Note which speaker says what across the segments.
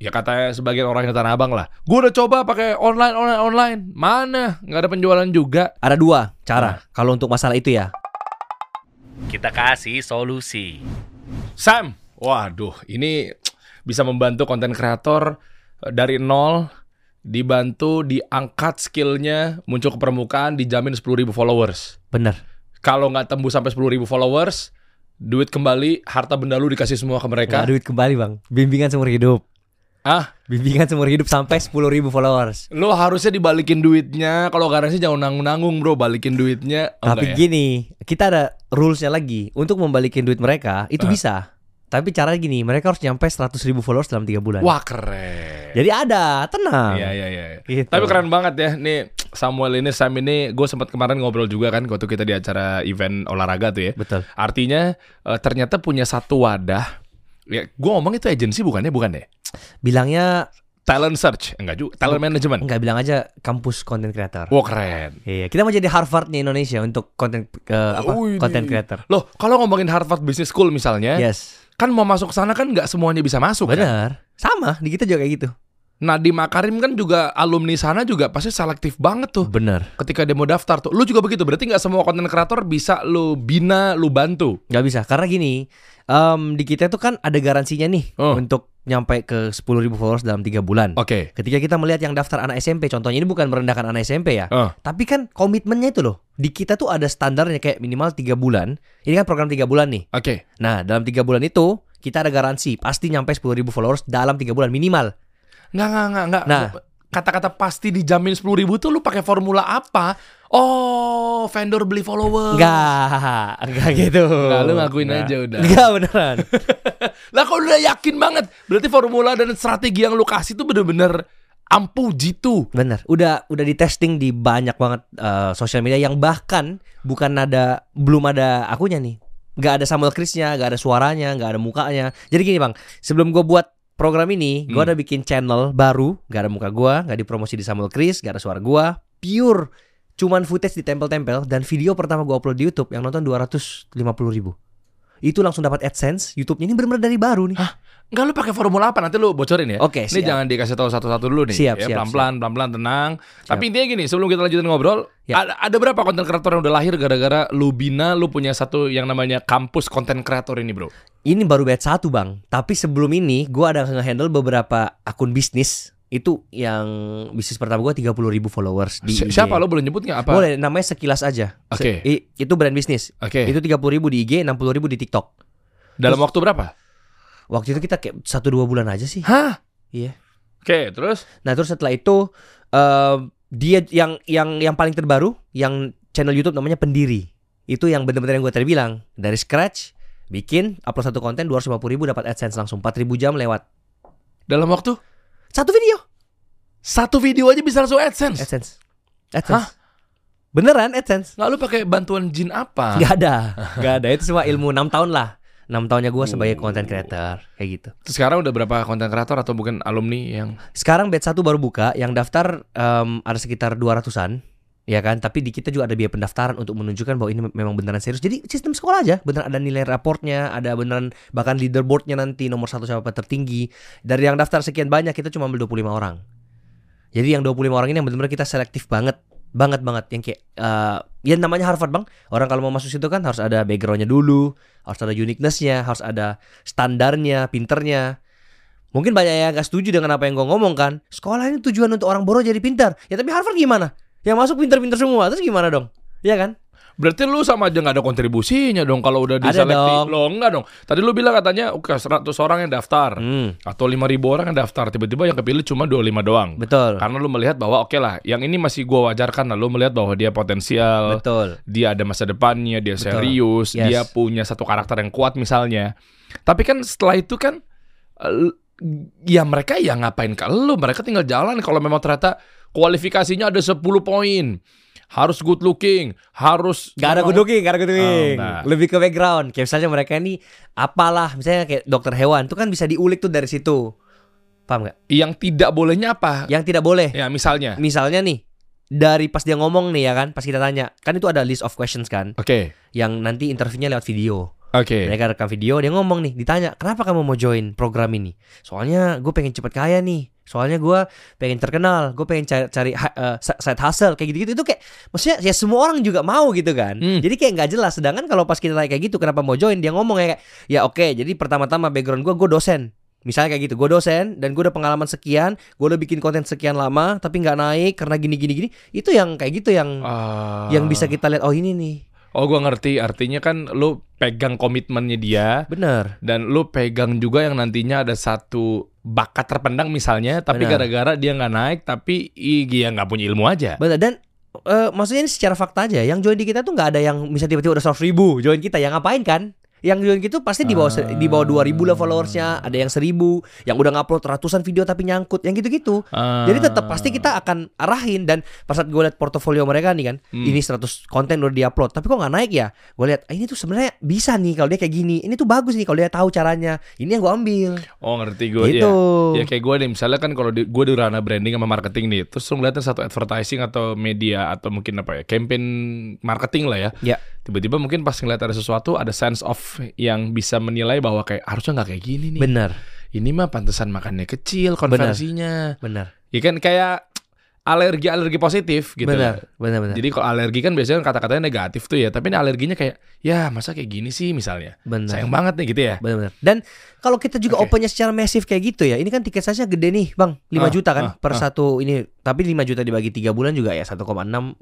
Speaker 1: ya katanya sebagian orang yang tanah abang lah gue udah coba pakai online online online mana nggak ada penjualan juga
Speaker 2: Ada dua
Speaker 1: Nah.
Speaker 2: cara kalau untuk masalah itu ya.
Speaker 3: Kita kasih solusi.
Speaker 1: Sam waduh ini bisa membantu konten kreator eh, dari nol dibantu diangkat skillnya muncul ke permukaan dijamin 10.000 followers
Speaker 2: Bener.
Speaker 1: kalau nggak tembus sampai 10.000 followers duit kembali harta benda lu dikasih semua ke mereka
Speaker 2: Nggak duit kembali bang. Bimbingan seumur hidup.
Speaker 1: ah
Speaker 2: Bimbingan seumur hidup sampai 10.000 ribu followers.
Speaker 1: lu harusnya dibalikin duitnya kalau garansi jangan nanggung-nanggung bro balikin duitnya Oh,
Speaker 2: Tapi
Speaker 1: nggak ya?
Speaker 2: gini, kita ada rulesnya lagi. Untuk membalikin duit
Speaker 1: Ah.
Speaker 2: mereka itu bisa. Tapi caranya gini, mereka harus nyampe 100.000 ribu followers dalam 3 bulan.
Speaker 1: wah keren
Speaker 2: Jadi ada, tenang.
Speaker 1: Iya iya iya.
Speaker 2: Gitu.
Speaker 1: Tapi keren banget ya nih Samuel ini Sam ini gue sempat kemarin ngobrol juga kan waktu kita di acara event olahraga tuh ya.
Speaker 2: Betul.
Speaker 1: Artinya eh, ternyata punya satu wadah. Ya, gue ngomong itu agensi bukannya bukan deh.
Speaker 2: Bilangnya
Speaker 1: Talent search enggak juga. Talent management.
Speaker 2: nggak bilang aja kampus content creator.
Speaker 1: Wah keren.
Speaker 2: Iya, kita mau jadi Harvardnya Indonesia untuk content eh, apa?
Speaker 1: Wih.
Speaker 2: Content creator.
Speaker 1: Loh kalau ngomongin Harvard Business School misalnya,
Speaker 2: Yes.
Speaker 1: kan mau masuk ke sana kan nggak semuanya bisa masuk. kan?
Speaker 2: Bener. Sama, di kita juga kayak gitu.
Speaker 1: Nadiem Makarim kan juga alumni sana juga pasti selektif banget tuh.
Speaker 2: Bener.
Speaker 1: Ketika dia mau daftar tuh, lu juga begitu. Berarti nggak semua konten kreator bisa lu bina, lu bantu.
Speaker 2: Gak bisa karena gini em, di kita tuh kan ada garansinya nih
Speaker 1: Oh.
Speaker 2: untuk nyampe ke 10.000 followers dalam tiga bulan.
Speaker 1: Oke.
Speaker 2: Ketika kita melihat yang daftar anak SMP, contohnya ini bukan merendahkan anak SMP ya,
Speaker 1: Eh.
Speaker 2: tapi kan komitmennya itu loh. Di kita tuh ada standarnya kayak minimal tiga bulan. Ini kan program tiga bulan nih.
Speaker 1: Oke,
Speaker 2: Nah dalam tiga bulan itu kita ada garansi pasti nyampe 10.000 followers dalam tiga bulan minimal.
Speaker 1: nggak nggak nggak nggak.
Speaker 2: Nah.
Speaker 1: kata-kata pasti dijamin sepuluh ribu tuh lu pakai formula apa? Oh, vendor beli follower.
Speaker 2: Enggak, enggak gitu.
Speaker 1: Oh. Nggak, lu ngakuin aja udah.
Speaker 2: Enggak beneran.
Speaker 1: Lah kalau udah yakin banget, berarti formula dan strategi yang lu kasih tuh bener-bener ampuh jitu.
Speaker 2: Bener, udah udah di testing di banyak banget eh, sosial media yang bahkan bukan ada belum ada akunya nih, nggak ada Samuel Krisnya, nggak ada suaranya, nggak ada mukanya. Jadi gini bang, sebelum gue buat program ini, gue
Speaker 1: Hmm.
Speaker 2: ada bikin channel baru, nggak ada muka gue, nggak dipromosi di Samuel Kris, nggak ada suara gue, pure cuman footage ditempel-tempel dan video pertama gue upload di YouTube yang nonton 250 ribu. Itu langsung dapat AdSense, YouTube-nya ini benar-benar dari baru nih.
Speaker 1: Nggak lu pakai formula apa? Nanti lu bocorin ya.
Speaker 2: Oke,
Speaker 1: Ini
Speaker 2: Oh, siap.
Speaker 1: jangan dikasih tahu satu-satu dulu nih.
Speaker 2: Siap,
Speaker 1: ya,
Speaker 2: siap,
Speaker 1: pelan-pelan, pelan-pelan, tenang. Tapi intinya gini, sebelum kita lanjutin ngobrol,
Speaker 2: Ya.
Speaker 1: ada, ada berapa konten kreator yang udah lahir gara-gara lu bina, lu punya satu yang namanya kampus konten kreator ini, bro?
Speaker 2: Ini baru batch satu bang. Tapi sebelum ini gue ada ngehandle beberapa akun bisnis itu yang bisnis pertama gue 30.000 ribu followers di
Speaker 1: Si-
Speaker 2: IG.
Speaker 1: Siapa lu boleh nyebut nggak apa?
Speaker 2: Boleh namanya sekilas aja.
Speaker 1: Oke. Eh.
Speaker 2: Se- i- itu brand bisnis.
Speaker 1: Oke.
Speaker 2: Itu 30.000 ribu di IG, 60.000 ribu di TikTok.
Speaker 1: Dalam waktu berapa?
Speaker 2: Waktu itu kita kayak satu dua bulan aja sih.
Speaker 1: Hah?
Speaker 2: Iya.
Speaker 1: Oke, terus?
Speaker 2: Nah terus setelah itu eh, dia yang yang yang paling terbaru yang channel YouTube namanya Pendiri. Itu yang benar-benar yang gue tadi bilang dari scratch bikin upload satu konten 250.000 ribu dapat adsense langsung 4.000 jam lewat
Speaker 1: Dalam waktu
Speaker 2: satu video.
Speaker 1: satu video aja bisa langsung AdSense.
Speaker 2: AdSense. AdSense. Beneran AdSense?
Speaker 1: Nggak lu pakai bantuan jin apa?
Speaker 2: Gak ada. Gak ada. Itu semua ilmu 6 tahun lah. 6 tahunnya gue sebagai content creator kayak gitu.
Speaker 1: Terus Sekarang udah berapa konten kreator atau mungkin alumni yang
Speaker 2: Sekarang batch 1 baru buka, yang daftar em, ada sekitar 200-an. Ya kan, tapi di kita juga ada biaya pendaftaran untuk menunjukkan bahwa ini mem- memang beneran serius. Jadi sistem sekolah aja, beneran ada nilai raportnya, ada beneran bahkan leaderboardnya nanti nomor satu siapa tertinggi. Dari yang daftar sekian banyak kita cuma ambil 25 orang. Jadi yang 25 orang ini yang benar-benar kita selektif banget, banget banget yang kayak eh, ya namanya Harvard bang. Orang kalau mau masuk situ kan harus ada backgroundnya dulu, harus ada uniquenessnya, harus ada standarnya, pinternya. Mungkin banyak yang gak setuju dengan apa yang gue ngomong kan. Sekolah ini tujuan untuk orang boros jadi pintar. Ya tapi Harvard gimana? Yang masuk pintar-pintar semua, terus gimana dong? Iya kan?
Speaker 1: Berarti lu sama aja nggak ada kontribusinya dong kalau udah
Speaker 2: Ada
Speaker 1: diseleksi.
Speaker 2: dong.
Speaker 1: Lo enggak dong. Tadi lu bilang katanya oke 100 orang yang daftar
Speaker 2: Hmm,
Speaker 1: atau 5000 orang yang daftar, tiba-tiba yang kepilih cuma 25 doang.
Speaker 2: betul,
Speaker 1: Karena lu melihat bahwa oke lah, yang ini masih gua wajarkan lah lu melihat bahwa dia potensial.
Speaker 2: betul.
Speaker 1: dia ada masa depannya, dia
Speaker 2: Betul.
Speaker 1: serius,
Speaker 2: Yes.
Speaker 1: dia punya satu karakter yang kuat misalnya. Tapi kan setelah itu kan el- ya mereka ya ngapain ke lu, mereka tinggal jalan kalau memang ternyata kualifikasinya ada 10 poin. Harus good looking, harus
Speaker 2: Gak ada good looking, gak ada good looking.
Speaker 1: Oh, enggak.
Speaker 2: Lebih ke background. Kayak misalnya mereka ini apalah, misalnya kayak dokter hewan, itu kan bisa diulik tuh dari situ. Paham gak?
Speaker 1: yang tidak bolehnya apa?
Speaker 2: Yang tidak boleh.
Speaker 1: Ya misalnya.
Speaker 2: Misalnya nih, dari pas dia ngomong nih ya kan, pas kita tanya, kan itu ada list of questions kan,
Speaker 1: Oke.
Speaker 2: yang nanti interviewnya lewat video.
Speaker 1: Oke.
Speaker 2: Mereka rekam video, dia ngomong nih, ditanya, kenapa kamu mau join program ini? Soalnya gue pengen cepet kaya nih, soalnya gue pengen terkenal, gue pengen cari, cari ha- eh, sa- side hustle, kayak gitu-gitu. Itu kayak, maksudnya ya semua orang juga mau gitu kan.
Speaker 1: Hmm.
Speaker 2: Jadi kayak nggak jelas, sedangkan kalau pas kita tanya kayak gitu, kenapa mau join? Dia ngomong kayak, ya oke, jadi pertama-tama background gue, gue dosen. Misalnya kayak gitu, gue dosen dan gue udah pengalaman sekian, gue udah bikin konten sekian lama, tapi nggak naik karena gini-gini-gini. Itu yang kayak gitu yang
Speaker 1: Ah.
Speaker 2: yang bisa kita lihat, oh ini nih,
Speaker 1: Oh, gua ngerti. Artinya kan lu pegang komitmennya dia
Speaker 2: bener.
Speaker 1: dan lu pegang juga yang nantinya ada satu bakat terpendang misalnya, tapi
Speaker 2: Benar.
Speaker 1: gara-gara dia nggak naik, tapi i- dia nggak punya ilmu aja.
Speaker 2: Betul dan eh, maksudnya ini secara fakta aja, yang join di kita tuh nggak ada yang bisa tiba-tiba udah 100 ribu join kita, yang ngapain kan? Yang join gitu pasti di bawah se-
Speaker 1: Ah.
Speaker 2: di bawah 2000 lah followersnya, ada yang 1000, yang udah ngupload ratusan video tapi nyangkut, yang gitu-gitu.
Speaker 1: Ah.
Speaker 2: Jadi tetap pasti kita akan arahin dan pas saat gue liat portofolio mereka nih kan,
Speaker 1: Hmm.
Speaker 2: ini 100 konten udah diupload, tapi kok nggak naik ya? Gue lihat ah, ini tuh sebenarnya bisa nih kalau dia kayak gini, ini tuh bagus nih kalau dia tahu caranya, ini yang gue ambil.
Speaker 1: Oh, ngerti gua ya.
Speaker 2: gitu.
Speaker 1: Ya kayak gue nih misalnya kan kalau di, gue di ranah branding sama marketing nih Terus lu ngeliatin satu advertising atau media atau mungkin apa ya Campaign marketing lah ya
Speaker 2: Ya.
Speaker 1: Tiba-tiba mungkin pas ngeliat ada sesuatu ada sense of yang bisa menilai bahwa kayak harusnya nggak kayak gini nih
Speaker 2: Bener,
Speaker 1: Ini mah pantesan makannya kecil konversinya
Speaker 2: bener,
Speaker 1: Ya kan kayak alergi-alergi positif gitu lah.
Speaker 2: bener, bener, bener,
Speaker 1: Jadi kalau alergi kan biasanya kan kata-katanya negatif tuh ya Tapi ini alerginya kayak ya masa kayak gini sih misalnya
Speaker 2: bener.
Speaker 1: Sayang banget nih gitu ya
Speaker 2: Benar-benar. Dan kalau kita juga
Speaker 1: Oke.
Speaker 2: opennya secara masif kayak gitu ya, ini kan tiket saja gede nih, Bang. 5
Speaker 1: Ah,
Speaker 2: juta kan
Speaker 1: ah,
Speaker 2: per
Speaker 1: ah.
Speaker 2: satu ini. Tapi 5 juta dibagi 3 bulan juga ya 1,6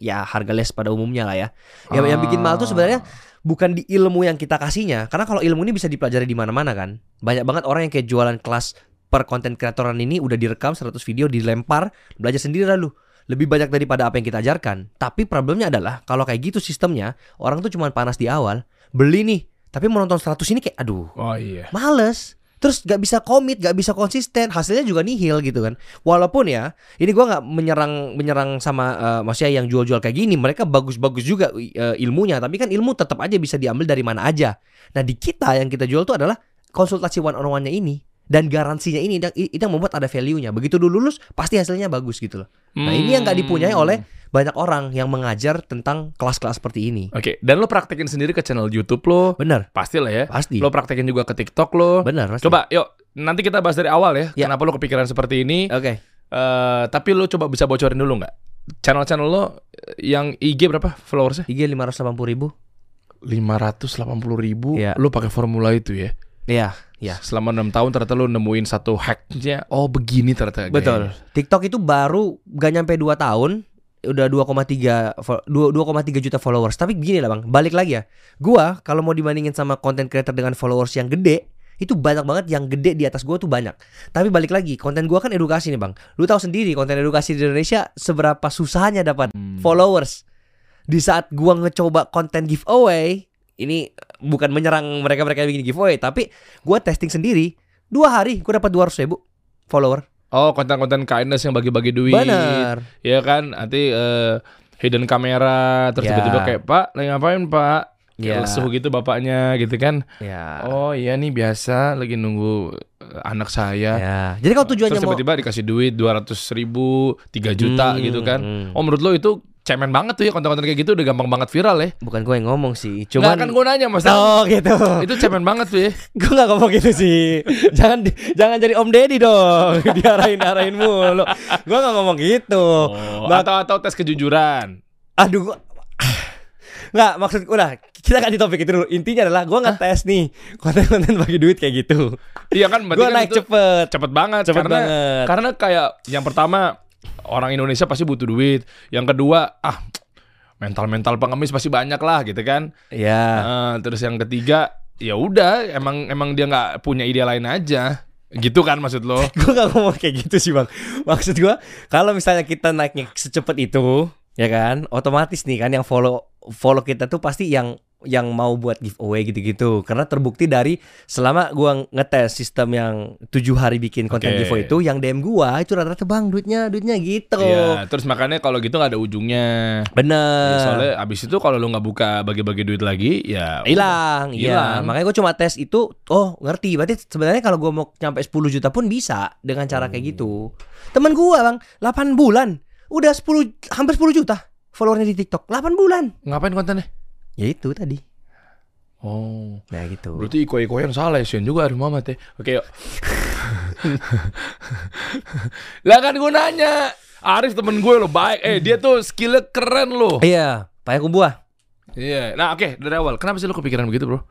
Speaker 2: ya harga les pada umumnya lah ya. Yang, yang bikin
Speaker 1: Ah.
Speaker 2: mahal tuh sebenarnya bukan di ilmu yang kita kasihnya, karena kalau ilmu ini bisa dipelajari di mana-mana kan. Banyak banget orang yang kayak jualan kelas per konten kreatoran ini udah direkam 100 video dilempar, belajar sendiri lah lu. Lebih banyak daripada apa yang kita ajarkan. Tapi problemnya adalah kalau kayak gitu sistemnya, orang tuh cuma panas di awal, beli nih, tapi mau nonton 100 ini kayak aduh
Speaker 1: Oh iya
Speaker 2: males terus gak bisa komit gak bisa konsisten hasilnya juga nihil gitu kan walaupun ya ini gua nggak menyerang menyerang sama eh, maksudnya yang jual-jual kayak gini mereka bagus-bagus juga eh, ilmunya tapi kan ilmu tetap aja bisa diambil dari mana aja nah di kita yang kita jual tuh adalah konsultasi one on one-nya ini dan garansinya ini dan i- itu yang membuat ada value-nya begitu dulu lulus pasti hasilnya bagus gitu loh nah ini yang gak dipunyai
Speaker 1: Hmm.
Speaker 2: oleh banyak orang yang mengajar tentang kelas-kelas seperti ini
Speaker 1: Oke, dan lo praktekin sendiri ke channel YouTube lo,
Speaker 2: bener
Speaker 1: pasti lah ya.
Speaker 2: pasti
Speaker 1: Lo praktekin juga ke TikTok lo.
Speaker 2: bener pasti.
Speaker 1: Coba, yuk nanti kita bahas dari awal ya.
Speaker 2: Ya.
Speaker 1: Kenapa lo kepikiran seperti ini?
Speaker 2: oke
Speaker 1: Eh, tapi lo coba bisa bocorin dulu nggak? Channel-channel lo eh, yang IG berapa followersnya?
Speaker 2: IG 580 ribu
Speaker 1: 580 ribu.
Speaker 2: Iya.
Speaker 1: Lo pakai formula itu ya?
Speaker 2: Iya Iya.
Speaker 1: Selama enam tahun ternyata lo nemuin satu hacknya. Oh begini ternyata. gayanya.
Speaker 2: Betul. TikTok itu baru gak nyampe 2 tahun udah 2,3 fo- dua- 2,3 juta followers. Tapi begini lah Bang, balik lagi ya. Gua kalau mau dibandingin sama content creator dengan followers yang gede, itu banyak banget yang gede di atas gua tuh banyak. Tapi balik lagi, konten gua kan edukasi nih Bang. Lu tahu sendiri konten edukasi di Indonesia seberapa susahnya dapat
Speaker 1: Hmm.
Speaker 2: followers. Di saat gua ngecoba konten giveaway, ini bukan menyerang mereka-mereka yang bikin giveaway, tapi gua testing sendiri. Dua hari gua dapat 200 ribu follower.
Speaker 1: Oh konten-konten kindness yang bagi-bagi duit.
Speaker 2: Bener.
Speaker 1: Iya kan? Nanti eh, hidden kamera. Terus
Speaker 2: Ya.
Speaker 1: tiba-tiba kayak Pak, lagi ngapain Pak?
Speaker 2: Iya,
Speaker 1: Kayak lesu gitu bapaknya gitu kan.
Speaker 2: Ya.
Speaker 1: Oh iya nih biasa lagi nunggu eh, anak saya.
Speaker 2: Ya. Jadi kalau tujuannya
Speaker 1: Oh, Terus
Speaker 2: mau
Speaker 1: tiba-tiba dikasih duit 200 ribu, 3 juta
Speaker 2: Hmm,
Speaker 1: gitu kan.
Speaker 2: hmm.
Speaker 1: Oh menurut lo itu cemen banget tuh ya konten-konten kayak gitu udah gampang banget viral ya.
Speaker 2: bukan gue yang ngomong sih,
Speaker 1: Cuman,
Speaker 2: cuman
Speaker 1: kan gue nanya mas.
Speaker 2: Oh gitu.
Speaker 1: Itu cemen banget tuh ya.
Speaker 2: gue gak ngomong gitu sih. jangan di- jangan jadi Om Deddy dong. Diarahin arahin mulu. Gue gak ngomong gitu. Mak-
Speaker 1: atau atau tes kejujuran.
Speaker 2: Aduh gua Nggak, maksud udah kita ganti topik itu dulu. Intinya adalah gue ngetes nih konten-konten bagi duit kayak gitu.
Speaker 1: Iya kan berarti
Speaker 2: Gue
Speaker 1: kan
Speaker 2: naik
Speaker 1: itu
Speaker 2: cepet.
Speaker 1: cepet banget
Speaker 2: Cepet
Speaker 1: karena
Speaker 2: banget.
Speaker 1: karena kayak yang pertama orang Indonesia pasti butuh duit. Yang kedua ah mental-mental pengemis pasti banyak lah gitu kan.
Speaker 2: Ya.
Speaker 1: Eh, terus yang ketiga, ya udah emang emang dia nggak punya ide lain aja. Gitu kan maksud lo?
Speaker 2: gue gak ngomong kayak gitu sih bang maksud gue kalau misalnya kita naiknya secepat itu ya kan otomatis nih kan yang follow follow kita tuh pasti yang yang mau buat giveaway gitu-gitu karena terbukti dari selama gua ngetes sistem yang tujuh hari bikin konten
Speaker 1: Oke.
Speaker 2: giveaway itu yang DM gua itu rata-rata bang duitnya duitnya gitu
Speaker 1: Iya, terus makanya kalau gitu nggak ada ujungnya. Ya,
Speaker 2: bener
Speaker 1: soalnya abis itu kalau lo nggak buka bagi-bagi duit lagi, ya
Speaker 2: hilang iya
Speaker 1: Hilang.
Speaker 2: makanya gua cuma tes itu oh ngerti berarti sebenarnya kalau gua mau nyampe 10 juta pun bisa dengan cara kayak gitu temen gua bang 8 bulan udah 10 hampir 10 juta followernya di TikTok 8 bulan
Speaker 1: Ngapain kontennya?
Speaker 2: ya itu tadi
Speaker 1: Oh.
Speaker 2: Nah gitu.
Speaker 1: Berarti iko-iko yang salah ya, Sion juga aduh mama teh. Oke yuk. lah kan gue nanya. Arif temen gue loh baik. Eh dia tuh skillnya keren loh.
Speaker 2: Iya, payah kumbuah.
Speaker 1: Iya. Nah oke dari awal. Kenapa sih lo kepikiran begitu bro?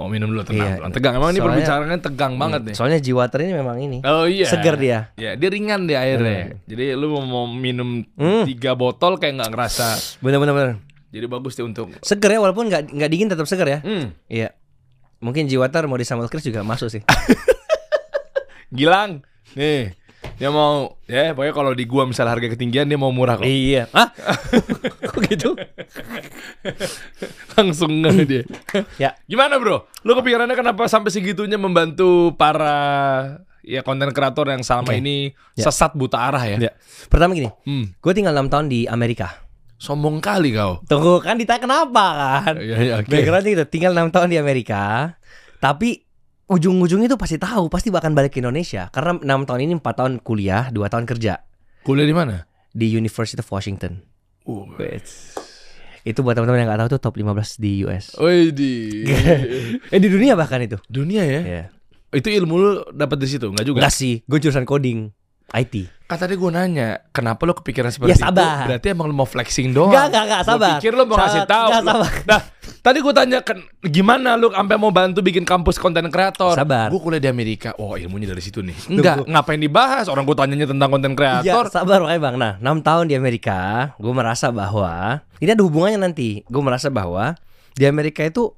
Speaker 1: Mau minum dulu tenang.
Speaker 2: Iya.
Speaker 1: tenang. Tegang. Emang ini
Speaker 2: Soalnya-
Speaker 1: perbincangannya tegang banget nih.
Speaker 2: Soalnya jiwa ini memang ini.
Speaker 1: Oh iya.
Speaker 2: Seger dia.
Speaker 1: Ya, dia ringan deh airnya. Jadi lu mau- mau minum
Speaker 2: Hmm.
Speaker 1: tiga botol kayak nggak ngerasa.
Speaker 2: Bener-bener. bener.
Speaker 1: Jadi bagus deh untuk.
Speaker 2: Seger ya walaupun nggak nggak dingin tetap seger ya.
Speaker 1: Hmm.
Speaker 2: Iya. Mungkin jiwater mau disambal kris juga masuk sih.
Speaker 1: Gilang, nih dia mau ya pokoknya kalau di gua misalnya harga ketinggian dia mau murah kok.
Speaker 2: iya. Hah? Kok gitu?
Speaker 1: Langsung nge dia.
Speaker 2: Ya.
Speaker 1: Gimana bro? Lu kepikirannya kenapa sampai segitunya membantu para ya konten kreator yang selama
Speaker 2: Oke.
Speaker 1: ini
Speaker 2: Ya.
Speaker 1: sesat buta arah ya?
Speaker 2: Ya. Pertama gini,
Speaker 1: Hmm.
Speaker 2: gue tinggal 6 tahun di Amerika.
Speaker 1: Sombong kali kau.
Speaker 2: Tunggu kan ditanya kenapa kan?
Speaker 1: Ya, ya, oke.
Speaker 2: Background gitu, tinggal 6 tahun di Amerika, tapi ujung-ujungnya tuh pasti tahu, pasti bahkan balik ke Indonesia karena 6 tahun ini 4 tahun kuliah, 2 tahun kerja
Speaker 1: Kuliah di mana?
Speaker 2: di University of Washington. Oh,
Speaker 1: Uh,
Speaker 2: Itu buat teman-teman yang nggak tahu tuh top 15 di US.
Speaker 1: wih, di iya.
Speaker 2: Eh di dunia bahkan itu.
Speaker 1: dunia ya.
Speaker 2: Iya.
Speaker 1: Itu ilmu lu dapat dari situ nggak juga?
Speaker 2: Enggak sih, gue jurusan coding, IT.
Speaker 1: Kan tadi gue nanya, kenapa lo kepikiran seperti
Speaker 2: Ya, sabar.
Speaker 1: itu? Berarti emang lo mau flexing doang.
Speaker 2: Enggak, enggak, enggak,
Speaker 1: Oh, Gua
Speaker 2: sabar.
Speaker 1: pikir lo mau
Speaker 2: Sabar,
Speaker 1: ngasih tahu.
Speaker 2: enggak,
Speaker 1: Lo-
Speaker 2: sabar.
Speaker 1: Nah, tadi gue tanya ken- gimana lo sampai mau bantu bikin kampus konten kreator.
Speaker 2: Sabar.
Speaker 1: Gue kuliah di Amerika. Oh, ilmunya dari situ nih. Enggak, ngapain dibahas? Orang gue tanyanya tentang konten
Speaker 2: Iya,
Speaker 1: kreator.
Speaker 2: sabar makanya Bang. Nah, 6 tahun di Amerika, gue merasa bahwa ini ada hubungannya nanti. Gue merasa bahwa di Amerika itu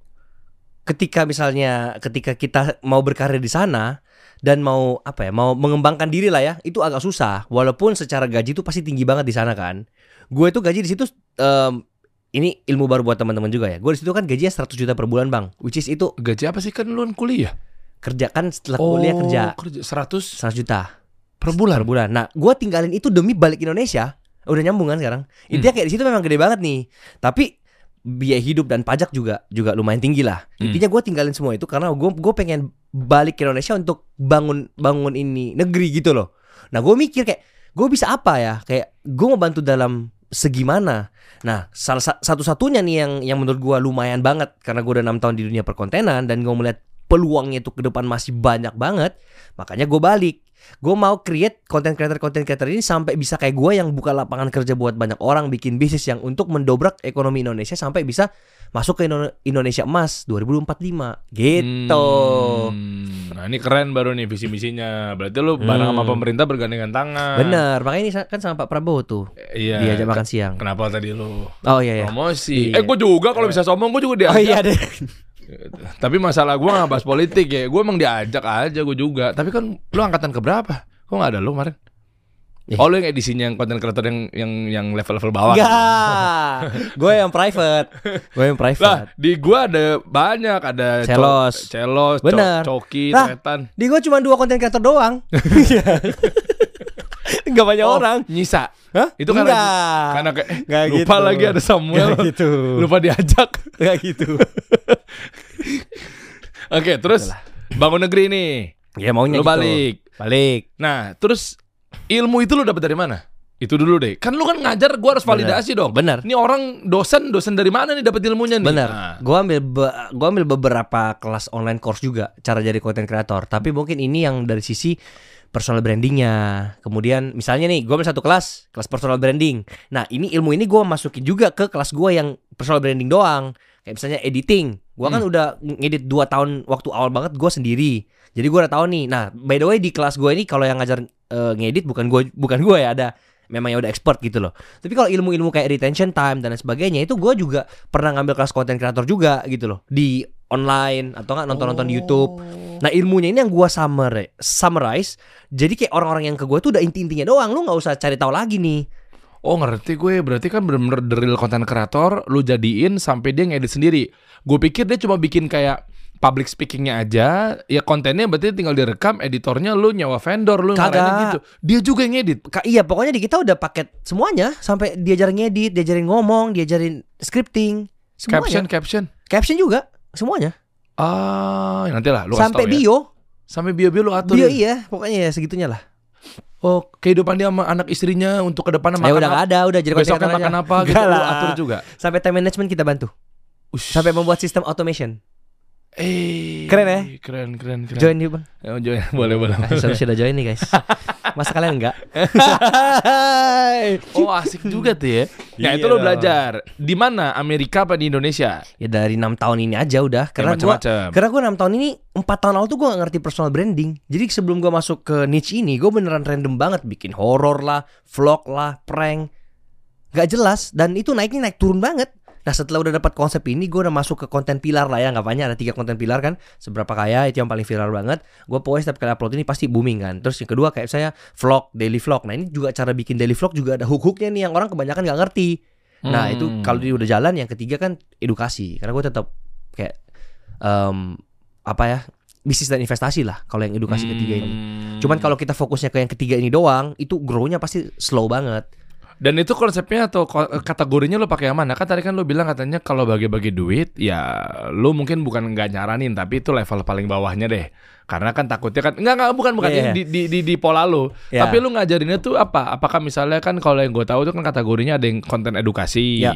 Speaker 2: ketika misalnya ketika kita mau berkarir di sana dan mau apa ya, mau mengembangkan diri lah ya, itu agak susah. Walaupun secara gaji itu pasti tinggi banget di sana kan. Gue itu gaji di situ em, ini ilmu baru buat teman-teman juga ya. Gue di situ kan gajinya 100 juta per bulan, Bang. Which is itu
Speaker 1: Gaji apa sih kan lo kan kuliah? Oh,
Speaker 2: kerja kan setelah kuliah kerja
Speaker 1: 100
Speaker 2: 100 juta.
Speaker 1: per bulan.
Speaker 2: per bulan. Nah, gua tinggalin itu demi balik Indonesia. Udah nyambung kan sekarang?
Speaker 1: Hmm.
Speaker 2: Intinya kayak di situ memang gede banget nih. Tapi biaya hidup dan pajak juga juga lumayan tinggi lah.
Speaker 1: Hmm.
Speaker 2: Intinya gua tinggalin semua itu karena gua gua pengen balik ke Indonesia untuk bangun bangun ini negeri gitu loh. Nah, gua mikir kayak gua bisa apa ya? Kayak gua mau bantu dalam segimana. Nah, salah sa- satu-satunya nih yang yang menurut gua lumayan banget karena gua udah enam tahun di dunia perkontenan dan gua melihat peluangnya itu ke depan masih banyak banget, makanya gua balik gue mau create content creator content creator ini sampai bisa kayak gue yang buka lapangan kerja buat banyak orang bikin bisnis yang untuk mendobrak ekonomi Indonesia sampai bisa masuk ke Indo- Indonesia Emas 2045 gitu
Speaker 1: Hmm. Nah, ini keren baru nih visi misinya. Berarti lo bareng
Speaker 2: Hmm.
Speaker 1: sama pemerintah bergandengan tangan.
Speaker 2: bener makanya ini sa- kan sama Pak Prabowo tuh
Speaker 1: Iya.
Speaker 2: diajak makan siang
Speaker 1: Kenapa tadi lo
Speaker 2: oh iya iya
Speaker 1: promosi?
Speaker 2: Iya.
Speaker 1: Eh, gue juga kalau bisa sombong gue juga diajak.
Speaker 2: oh iya deh
Speaker 1: Tapi masalah gue gak bahas politik ya Gue emang diajak aja gue juga Tapi kan lu angkatan keberapa? Kok gak ada lu kemarin?
Speaker 2: Ih.
Speaker 1: Oh lu yang edisinya yang konten kreator yang yang yang level-level bawah
Speaker 2: enggak gue yang private gue yang private
Speaker 1: Lah di gue ada banyak Ada Co-
Speaker 2: Celos.
Speaker 1: Celos Co-
Speaker 2: Bener.
Speaker 1: Coki
Speaker 2: Lah,
Speaker 1: Tretan
Speaker 2: di gue cuma dua content creator doang Gak banyak
Speaker 1: Oh,
Speaker 2: Ya orang
Speaker 1: Nyisa
Speaker 2: Hah?
Speaker 1: Itu karena
Speaker 2: Enggak.
Speaker 1: Karena kayak eh,
Speaker 2: Nggak
Speaker 1: Lupa
Speaker 2: gitu.
Speaker 1: lagi ada Samuel
Speaker 2: Nggak gitu.
Speaker 1: Lupa diajak
Speaker 2: Gak gitu
Speaker 1: Oke terus Bangun negeri nih
Speaker 2: Ya
Speaker 1: Lu
Speaker 2: maunya gitu.
Speaker 1: balik
Speaker 2: Balik
Speaker 1: Nah terus Ilmu itu lu dapet dari mana? Itu dulu deh Kan lu kan ngajar Gue harus validasi dong
Speaker 2: Bener
Speaker 1: Ini orang dosen dosen dari mana nih dapat ilmunya nih?
Speaker 2: Bener.
Speaker 1: Nah,
Speaker 2: Gua ambil be- gua ambil beberapa kelas online course juga cara jadi content creator. Tapi mungkin ini yang dari sisi personal brandingnya. Kemudian misalnya nih, gua ambil satu kelas, kelas personal branding. Nah ini ilmu ini gua masukin juga ke kelas gua yang personal branding doang. Kayak misalnya editing. Gua kan udah ngedit 2 tahun waktu awal banget gua sendiri. Jadi gua udah tahu nih. Nah, by the way di kelas gua ini kalau yang ngajar eh, ngedit bukan gua bukan gua ya ada memang yang udah expert gitu loh. Tapi kalau ilmu-ilmu kayak retention time dan lain sebagainya itu gue juga pernah ngambil kelas content creator juga gitu loh di online atau nggak nonton-nonton di YouTube. Nah ilmunya ini yang gue summer summarize. Jadi kayak orang-orang yang ke gue tuh udah inti-intinya doang. Lu nggak usah cari tahu lagi nih.
Speaker 1: Oh ngerti gue berarti kan bener-bener the real content creator lu jadiin sampai dia ngedit sendiri. Gue pikir dia cuma bikin kayak public speakingnya aja, ya kontennya berarti tinggal direkam, editornya lu nyawa vendor lu
Speaker 2: Kagak.
Speaker 1: ngarahinnya gitu. Dia juga yang ngedit.
Speaker 2: Ka- iya pokoknya di kita udah paket semuanya sampai diajarin ngedit, diajarin ngomong, diajarin scripting,
Speaker 1: Caption
Speaker 2: semuanya.
Speaker 1: caption.
Speaker 2: Caption juga semuanya.
Speaker 1: Ah nanti lah lu kasih
Speaker 2: sampai
Speaker 1: tahu ya.
Speaker 2: bio,
Speaker 1: Sampai bio bio lu atur.
Speaker 2: bio
Speaker 1: ya.
Speaker 2: iya pokoknya ya segitunya lah.
Speaker 1: Oh kehidupan dia sama anak istrinya untuk kedepannya
Speaker 2: Ya udah
Speaker 1: makan apa?
Speaker 2: nggak ada, udah jadi content
Speaker 1: Besoknya
Speaker 2: creator
Speaker 1: makan
Speaker 2: aja.
Speaker 1: apa gitu
Speaker 2: Nggak
Speaker 1: lu
Speaker 2: lah.
Speaker 1: atur juga.
Speaker 2: Sampai time management kita bantu.
Speaker 1: Ush.
Speaker 2: sampai membuat sistem automation.
Speaker 1: Eh,
Speaker 2: Keren ya?
Speaker 1: Keren, keren, keren.
Speaker 2: Join yuk bang.
Speaker 1: Ya, join. Boleh, boleh.
Speaker 2: Nah, Saya sudah join nih guys. Masa kalian enggak?
Speaker 1: Oh asik juga tuh ya. Ya itu lo
Speaker 2: Iya.
Speaker 1: belajar. Di mana Amerika apa di Indonesia?
Speaker 2: ya dari enam tahun ini aja udah. Karena gua
Speaker 1: macam-macam.
Speaker 2: Karena gue 6 tahun ini 4 tahun awal tuh gue gak ngerti personal branding Jadi sebelum gue masuk ke niche ini Gue beneran random banget Bikin horor lah, vlog lah, prank Gak jelas Dan itu naiknya naik turun banget Nah setelah udah dapat konsep ini Gue udah masuk ke konten pilar lah ya Gak banyak ada tiga konten pilar kan Seberapa kaya itu yang paling viral banget Gue pokoknya setiap kali upload ini pasti booming kan Terus yang kedua kayak saya vlog, daily vlog Nah ini juga cara bikin daily vlog juga ada hook-hooknya nih Yang orang kebanyakan gak ngerti Nah
Speaker 1: Hmm.
Speaker 2: itu kalau dia udah jalan yang ketiga kan edukasi karena gue tetap kayak em, apa ya bisnis dan investasi lah kalau yang edukasi ketiga ini.
Speaker 1: Hmm.
Speaker 2: Cuman kalau kita fokusnya ke yang ketiga ini doang itu grow-nya pasti slow banget.
Speaker 1: Dan itu konsepnya atau ko- kategorinya lo pakai yang mana? Kan tadi kan lo bilang katanya kalau bagi-bagi duit ya lo mungkin bukan nggak nyaranin tapi itu level paling bawahnya deh. Karena kan takutnya kan nggak nggak bukan bukan ini
Speaker 2: Iya, iya.
Speaker 1: di, di, di, di pola lo.
Speaker 2: Ya.
Speaker 1: Tapi lo ngajarinnya tuh apa? Apakah misalnya kan kalau yang gue tahu tuh kan kategorinya ada yang konten edukasi,
Speaker 2: Ya.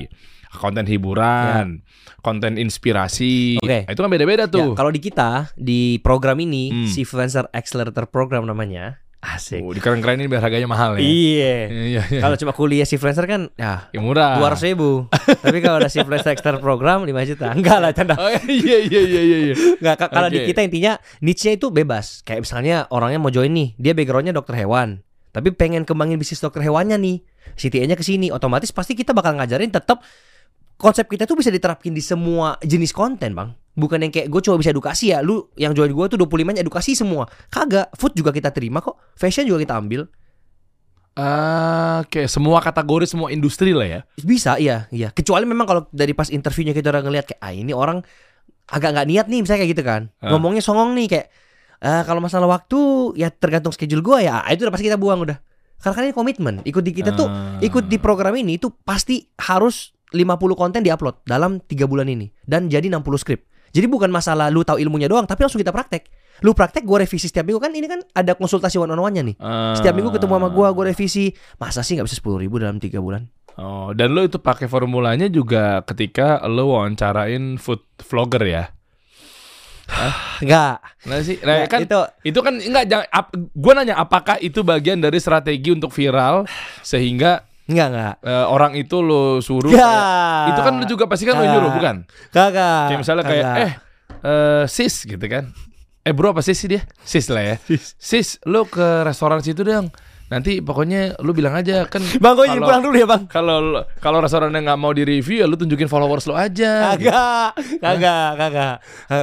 Speaker 1: konten hiburan, konten inspirasi.
Speaker 2: Iya. Oke.
Speaker 1: Nah, Itu kan beda-beda
Speaker 2: Ya,
Speaker 1: tuh.
Speaker 2: kalau di kita di program ini
Speaker 1: Hmm.
Speaker 2: si influencer accelerator program namanya asik.
Speaker 1: Oh, dikeren-kerenin biar harganya mahal ya.
Speaker 2: Iya.
Speaker 1: Iya, iya.
Speaker 2: Kalau cuma kuliah si influencer kan ya
Speaker 1: Ya murah.
Speaker 2: dua ratus ribu. Tapi kalau ada si influencer accelerator program 5 juta. Enggak lah canda.
Speaker 1: Oh, iya iya iya iya iya.
Speaker 2: Nggak, ka- kalau di
Speaker 1: Oke.
Speaker 2: kita intinya niche-nya itu bebas. Kayak misalnya orangnya mau join nih, dia backgroundnya dokter hewan, tapi pengen kembangin bisnis dokter hewannya nih. CTA-nya ke sini, otomatis pasti kita bakal ngajarin tetap konsep kita tuh bisa diterapkin di semua jenis konten, Bang. Bukan yang kayak gue cuma bisa edukasi ya, lu yang join gue tuh 25-nya edukasi semua. Kagak, food juga kita terima kok, fashion juga kita ambil.
Speaker 1: Ah, Oke, semua kategori, semua industri lah ya.
Speaker 2: Bisa, iya, iya. Kecuali memang kalau dari pas interviewnya kita udah ngeliat kayak, ah ini orang agak nggak niat nih, misalnya kayak gitu kan.
Speaker 1: Ah.
Speaker 2: Ngomongnya songong nih kayak, "Eh, kalau masalah waktu ya tergantung schedule gua ya. Ah, Itu udah pasti kita buang udah. Karena kan ini komitmen. Ikut di kita tuh,
Speaker 1: Ah.
Speaker 2: ikut di program ini itu pasti harus 50 konten diupload dalam 3 bulan ini dan jadi 60 skrip. Jadi bukan masalah lu tahu ilmunya doang, tapi langsung kita praktek. Lu praktek, gua revisi setiap minggu kan ini kan ada konsultasi one on one-nya nih.
Speaker 1: Ah.
Speaker 2: Setiap minggu ketemu sama gua, gua revisi. Masa sih nggak bisa 10 ribu dalam 3 bulan?
Speaker 1: Oh, dan lo itu pakai formulanya juga ketika lo wawancarain food vlogger ya.
Speaker 2: Enggak.
Speaker 1: Nah sih, nah,
Speaker 2: Nah,
Speaker 1: kan itu,
Speaker 2: itu
Speaker 1: kan enggak jangan ap, gua nanya apakah itu bagian dari strategi untuk viral sehingga
Speaker 2: enggak enggak.
Speaker 1: eh, orang itu lo suruh
Speaker 2: Ya.
Speaker 1: kayak- Itu kan lo juga pasti kan lo
Speaker 2: Ya.
Speaker 1: nyuruh bukan?
Speaker 2: Kagak.
Speaker 1: Kayak misalnya kayak
Speaker 2: Ah, Kagak.
Speaker 1: eh eh, sis gitu kan. Eh bro apa sis sih dia? Sis lah ya. Sis, lo ke restoran situ dong. Nanti pokoknya lu bilang aja kan.
Speaker 2: Bang, gue izin
Speaker 1: kalau-
Speaker 2: pulang dulu ya, Bang.
Speaker 1: Kalau lo- kalau restorannya nggak mau di review ya lu tunjukin followers lo
Speaker 2: Ah,
Speaker 1: aja. gitu
Speaker 2: Kagak, kagak, kagak.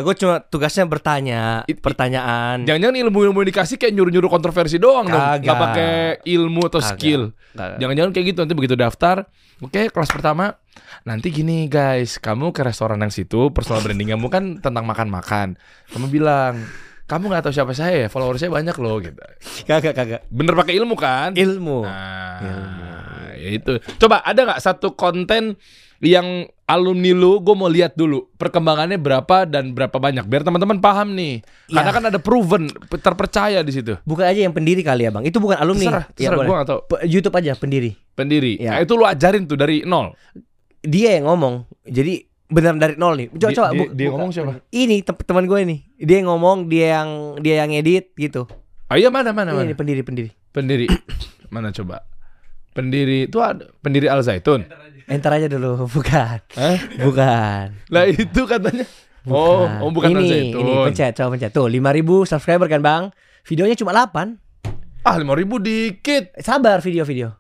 Speaker 2: Gue cuma tugasnya bertanya,
Speaker 1: It- it-
Speaker 2: pertanyaan.
Speaker 1: Jangan-jangan ilmu-ilmu yang dikasih kayak nyuruh-nyuruh kontroversi doang dong.
Speaker 2: Hmm. Kagak.
Speaker 1: Nggak pakai ilmu atau
Speaker 2: Kagak.
Speaker 1: skill.
Speaker 2: Kagak.
Speaker 1: Jangan-jangan kayak gitu nanti begitu daftar, oke kelas pertama nanti gini guys, kamu ke restoran yang situ personal branding kamu kan tentang makan-makan. Kamu bilang kamu nggak tahu siapa saya ya, followers saya banyak loh gitu.
Speaker 2: kagak, kagak.
Speaker 1: Bener pakai ilmu kan?
Speaker 2: Ilmu.
Speaker 1: Nah, ya itu. Coba ada nggak satu konten yang alumni lu gue mau lihat dulu perkembangannya berapa dan berapa banyak biar teman-teman paham nih. Karena
Speaker 2: Ya.
Speaker 1: kan ada proven terpercaya di situ.
Speaker 2: Bukan aja yang pendiri kali ya, Bang. Itu bukan alumni.
Speaker 1: Terserah, terserah
Speaker 2: boleh.
Speaker 1: gue atau
Speaker 2: Pe- YouTube aja pendiri.
Speaker 1: pendiri.
Speaker 2: Ya.
Speaker 1: Nah, itu lu ajarin tuh dari nol.
Speaker 2: Dia yang ngomong. Jadi benar dari nol nih. Coba
Speaker 1: Dia-
Speaker 2: coba
Speaker 1: dia-
Speaker 2: buka-
Speaker 1: dia
Speaker 2: buka.
Speaker 1: ngomong siapa?
Speaker 2: Ini tem- teman gue nih. Dia yang ngomong, dia yang dia yang edit gitu.
Speaker 1: Oh iya mana mana
Speaker 2: Ini
Speaker 1: mana.
Speaker 2: nih, pendiri pendiri.
Speaker 1: Pendiri mana coba? Pendiri itu ada pendiri Al Zaitun.
Speaker 2: Enter aja dulu, bukan.
Speaker 1: Hah?
Speaker 2: Bukan.
Speaker 1: Lah itu katanya. Oh, oh bukan Al
Speaker 2: Nah, ini,
Speaker 1: Zaitun.
Speaker 2: ini pencet, coba pencet. Tuh, 5000 subscriber kan, Bang? Videonya cuma 8.
Speaker 1: Ah, 5000 dikit.
Speaker 2: Eh, Sabar video-video.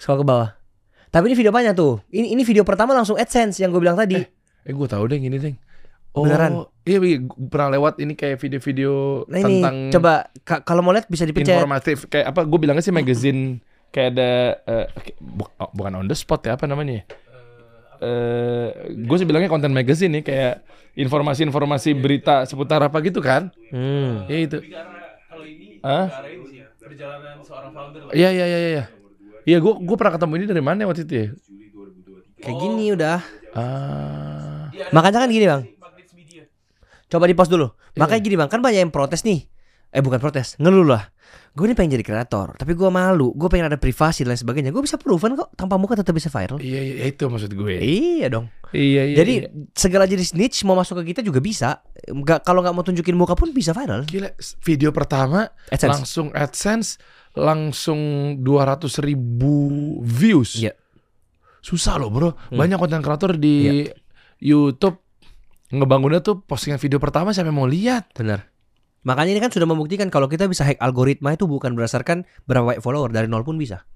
Speaker 2: Scroll ke bawah. Tapi ini video banyak tuh. Ini ini video pertama langsung AdSense yang gue bilang tadi.
Speaker 1: Eh gue tahu deh gini deh. Oh,
Speaker 2: Beneran?
Speaker 1: Iya, iya, gua pernah lewat ini kayak video-video
Speaker 2: nah ini
Speaker 1: tentang
Speaker 2: coba ka- kalau mau lihat bisa dipencet.
Speaker 1: informatif kayak apa gue bilangnya sih magazine kayak ada eh, kayak- bu- oh, bukan on the spot ya apa namanya? ya? Eh, gue sih bilangnya konten magazine nih kayak informasi-informasi berita seputar apa gitu kan?
Speaker 2: Hmm.
Speaker 1: Ya itu. Hah? Iya iya iya iya. Iya gue gue pernah ketemu ini dari mana waktu itu ya?
Speaker 2: Kayak gini
Speaker 1: Oh.
Speaker 2: udah.
Speaker 1: Ah. Iya.
Speaker 2: Makanya kan gini, Bang. Coba di pause dulu. Makanya gini, Bang. Kan banyak yang protes nih. eh bukan protes ngeluh lah gue ini pengen jadi kreator tapi gue malu gue pengen ada privasi dan lain sebagainya gue bisa proven kok tanpa muka tetap bisa viral
Speaker 1: Iya, iya itu maksud gue.
Speaker 2: iya dong
Speaker 1: Iya, iya.
Speaker 2: jadi
Speaker 1: iya.
Speaker 2: segala jenis niche mau masuk ke kita juga bisa nggak kalau nggak mau tunjukin muka pun bisa viral
Speaker 1: gila video pertama
Speaker 2: AdSense
Speaker 1: langsung AdSense langsung 200 ribu views.
Speaker 2: Iya.
Speaker 1: Susah loh bro. Banyak konten kreator di YouTube ngebangunnya tuh postingan video pertama siapa yang mau lihat?
Speaker 2: benar makanya ini kan sudah membuktikan kalau kita bisa hack algoritma itu bukan berdasarkan berapa follower dari nol pun bisa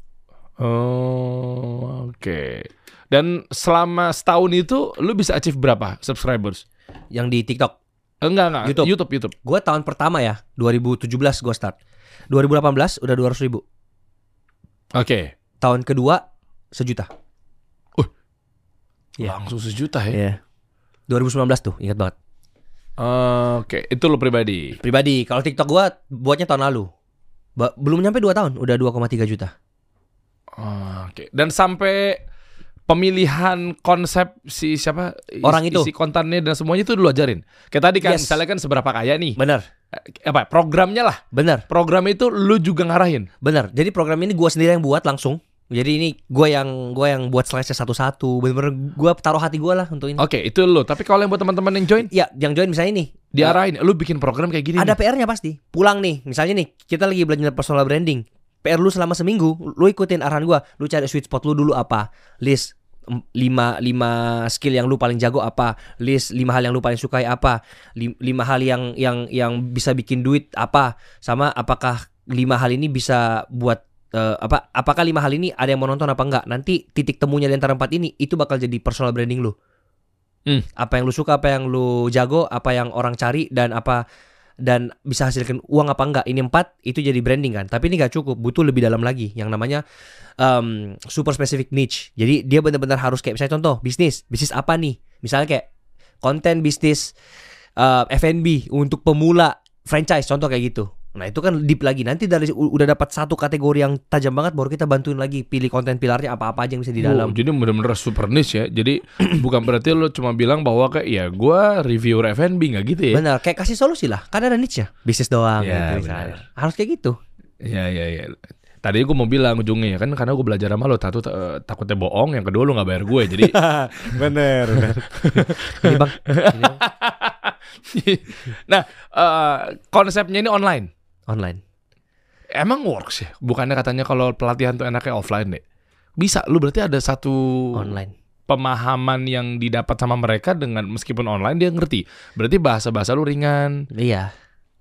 Speaker 1: Oh, oke. Dan selama setahun itu lu bisa achieve berapa subscribers?
Speaker 2: yang di TikTok
Speaker 1: Eh, Enggak, enggak.
Speaker 2: YouTube.
Speaker 1: YouTube, YouTube.
Speaker 2: Gue tahun pertama ya 2017 gue start 2018 udah 200 ribu
Speaker 1: Oke.
Speaker 2: Tahun kedua sejuta Iya.
Speaker 1: Langsung sejuta ya.
Speaker 2: Iya 2019 tuh ingat banget
Speaker 1: Oke, itu lu pribadi.
Speaker 2: Pribadi kalau TikTok gue buatnya tahun lalu Ba- Belum nyampe 2 tahun udah 2,3 juta
Speaker 1: Ah, Oke. Dan sampai pemilihan konsep si siapa is-
Speaker 2: Orang itu.
Speaker 1: isi kontennya dan semuanya itu lu ajarin. Kayak tadi kan
Speaker 2: Yes.
Speaker 1: misalnya kan seberapa kaya nih.
Speaker 2: Bener
Speaker 1: Eh, Apa programnya lah.
Speaker 2: bener
Speaker 1: Program itu lu juga ngarahin.
Speaker 2: bener Jadi program ini gue sendiri yang buat langsung jadi ini gue yang gue yang buat slice satu-satu Bener-bener gue taruh hati gue lah untuk ini
Speaker 1: Oke, itu lu. Tapi kalau yang buat teman-teman yang join
Speaker 2: Ya yang join misalnya ini Eh,
Speaker 1: diarahin, lu bikin program kayak gini. nih.
Speaker 2: Ada PR-nya pasti. Pulang nih, misalnya nih, kita lagi belajar personal branding. PR lu selama seminggu, lu ikutin arahan gua, lu cari sweet spot lu dulu apa, list 5 lima skill yang lu paling jago apa, list 5 hal yang lu paling sukai apa, 5 hal yang yang yang bisa bikin duit apa, sama apakah 5 hal ini bisa buat eh, apa apakah lima hal ini ada yang mau nonton apa enggak nanti titik temunya di antara empat ini itu bakal jadi personal branding lu
Speaker 1: Hmm.
Speaker 2: apa yang lu suka apa yang lu jago apa yang orang cari dan apa dan bisa hasilkan uang apa enggak ini empat itu jadi branding kan tapi ini nggak cukup butuh lebih dalam lagi yang namanya um, super specific niche jadi dia benar-benar harus kayak misalnya contoh bisnis bisnis apa nih misalnya kayak konten bisnis uh, F&B untuk pemula franchise contoh kayak gitu nah itu kan deep lagi nanti dari u- udah dapat satu kategori yang tajam banget baru kita bantuin lagi pilih konten pilarnya apa-apa aja yang bisa di
Speaker 1: Wow,
Speaker 2: dalam
Speaker 1: jadi bener-bener super niche ya. Jadi bukan berarti lu cuma bilang bahwa kayak ya gua reviewer F&B nggak gitu ya.
Speaker 2: benar kayak kasih solusi lah kan ada niche ya bisnis doang
Speaker 1: Ya,
Speaker 2: gitu misalnya.
Speaker 1: benar.
Speaker 2: harus kayak gitu
Speaker 1: Iya iya iya. Tadi gue mau bilang ujungnya ya kan karena gue belajar sama lo satu eh, takutnya bohong, yang kedua lo nggak bayar gue jadi
Speaker 2: bener, ini bang ini bang.
Speaker 1: nah eh, konsepnya ini online.
Speaker 2: online
Speaker 1: Emang works ya? Bukannya katanya kalau pelatihan tuh enaknya offline deh? Bisa, lu berarti ada satu
Speaker 2: online.
Speaker 1: pemahaman yang didapat sama mereka dengan meskipun online dia ngerti. Berarti bahasa-bahasa lu ringan.
Speaker 2: Iya,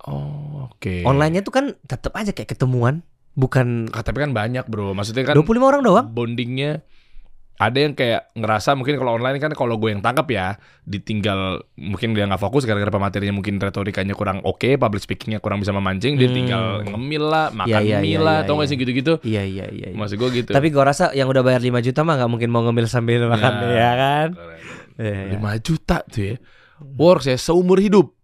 Speaker 1: Oh, oke.
Speaker 2: online-nya tuh kan tetap aja kayak ketemuan, bukan
Speaker 1: Ah, Tapi kan banyak, Bro. Maksudnya kan
Speaker 2: 25 orang doang.
Speaker 1: bondingnya ada yang kayak ngerasa mungkin kalau online kan kalau gue yang tangkap ya ditinggal mungkin dia nggak fokus gara-gara materinya mungkin retorikanya kurang oke public speakingnya kurang bisa memancing dia
Speaker 2: Hmm.
Speaker 1: tinggal ngemil lah makan
Speaker 2: Iya, iya,
Speaker 1: mie
Speaker 2: iya,
Speaker 1: lah
Speaker 2: iya,
Speaker 1: tau nggak
Speaker 2: iya.
Speaker 1: sih gitu-gitu
Speaker 2: Iya, iya, iya. iya.
Speaker 1: maksud gue gitu
Speaker 2: Tapi gua rasa yang udah bayar 5 juta mah nggak mungkin mau ngemil sambil makan,
Speaker 1: Nah.
Speaker 2: ya kan? Iya, iya.
Speaker 1: lima juta tuh ya works ya seumur hidup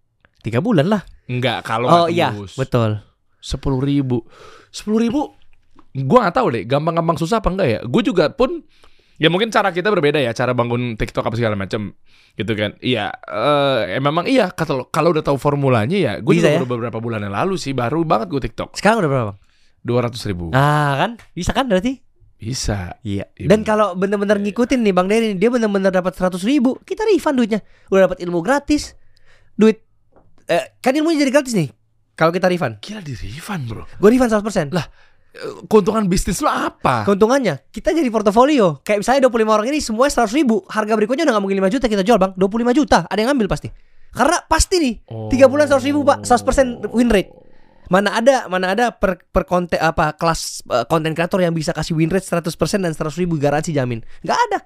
Speaker 2: Tiga bulan lah.
Speaker 1: nggak kalau
Speaker 2: Oh
Speaker 1: nggak
Speaker 2: iya,
Speaker 1: tembus.
Speaker 2: betul.
Speaker 1: sepuluh ribu sepuluh ribu gue nggak tahu deh gampang-gampang susah apa enggak ya gue juga pun ya mungkin cara kita berbeda ya cara bangun TikTok apa segala macam gitu kan iya eh, memang iya kalau kalau udah tahu formulanya ya gue
Speaker 2: Bisa
Speaker 1: juga
Speaker 2: ya?
Speaker 1: baru beberapa bulan yang lalu sih baru banget gue TikTok
Speaker 2: Sekarang udah berapa, Bang?
Speaker 1: dua ratus ribu
Speaker 2: Ah, kan? Bisa kan berarti?
Speaker 1: bisa
Speaker 2: Iya.
Speaker 1: Iya,
Speaker 2: Dan
Speaker 1: bener.
Speaker 2: kalau bener-bener ngikutin nih Bang Dery, dia bener-bener dapat 100 ribu, kita refund duitnya. Udah dapat ilmu gratis, duit eh, kan ilmunya jadi gratis nih. Kalau kita refund,
Speaker 1: gila di refund bro
Speaker 2: gue refund 100%.
Speaker 1: Eh, keuntungan bisnis lo apa
Speaker 2: Keuntungannya kita jadi portofolio. Kayak misalnya 25 orang ini semua 100 ribu, harga berikutnya udah nggak mungkin 5 juta kita jual bang. 25 juta ada yang ngambil pasti. Karena pasti nih tiga bulan 100 ribu pak, 100% win rate. Mana ada mana ada per, per konten apa kelas eh, konten kreator yang bisa kasih win rate 100% dan 100 ribu garansi jamin. Nggak ada.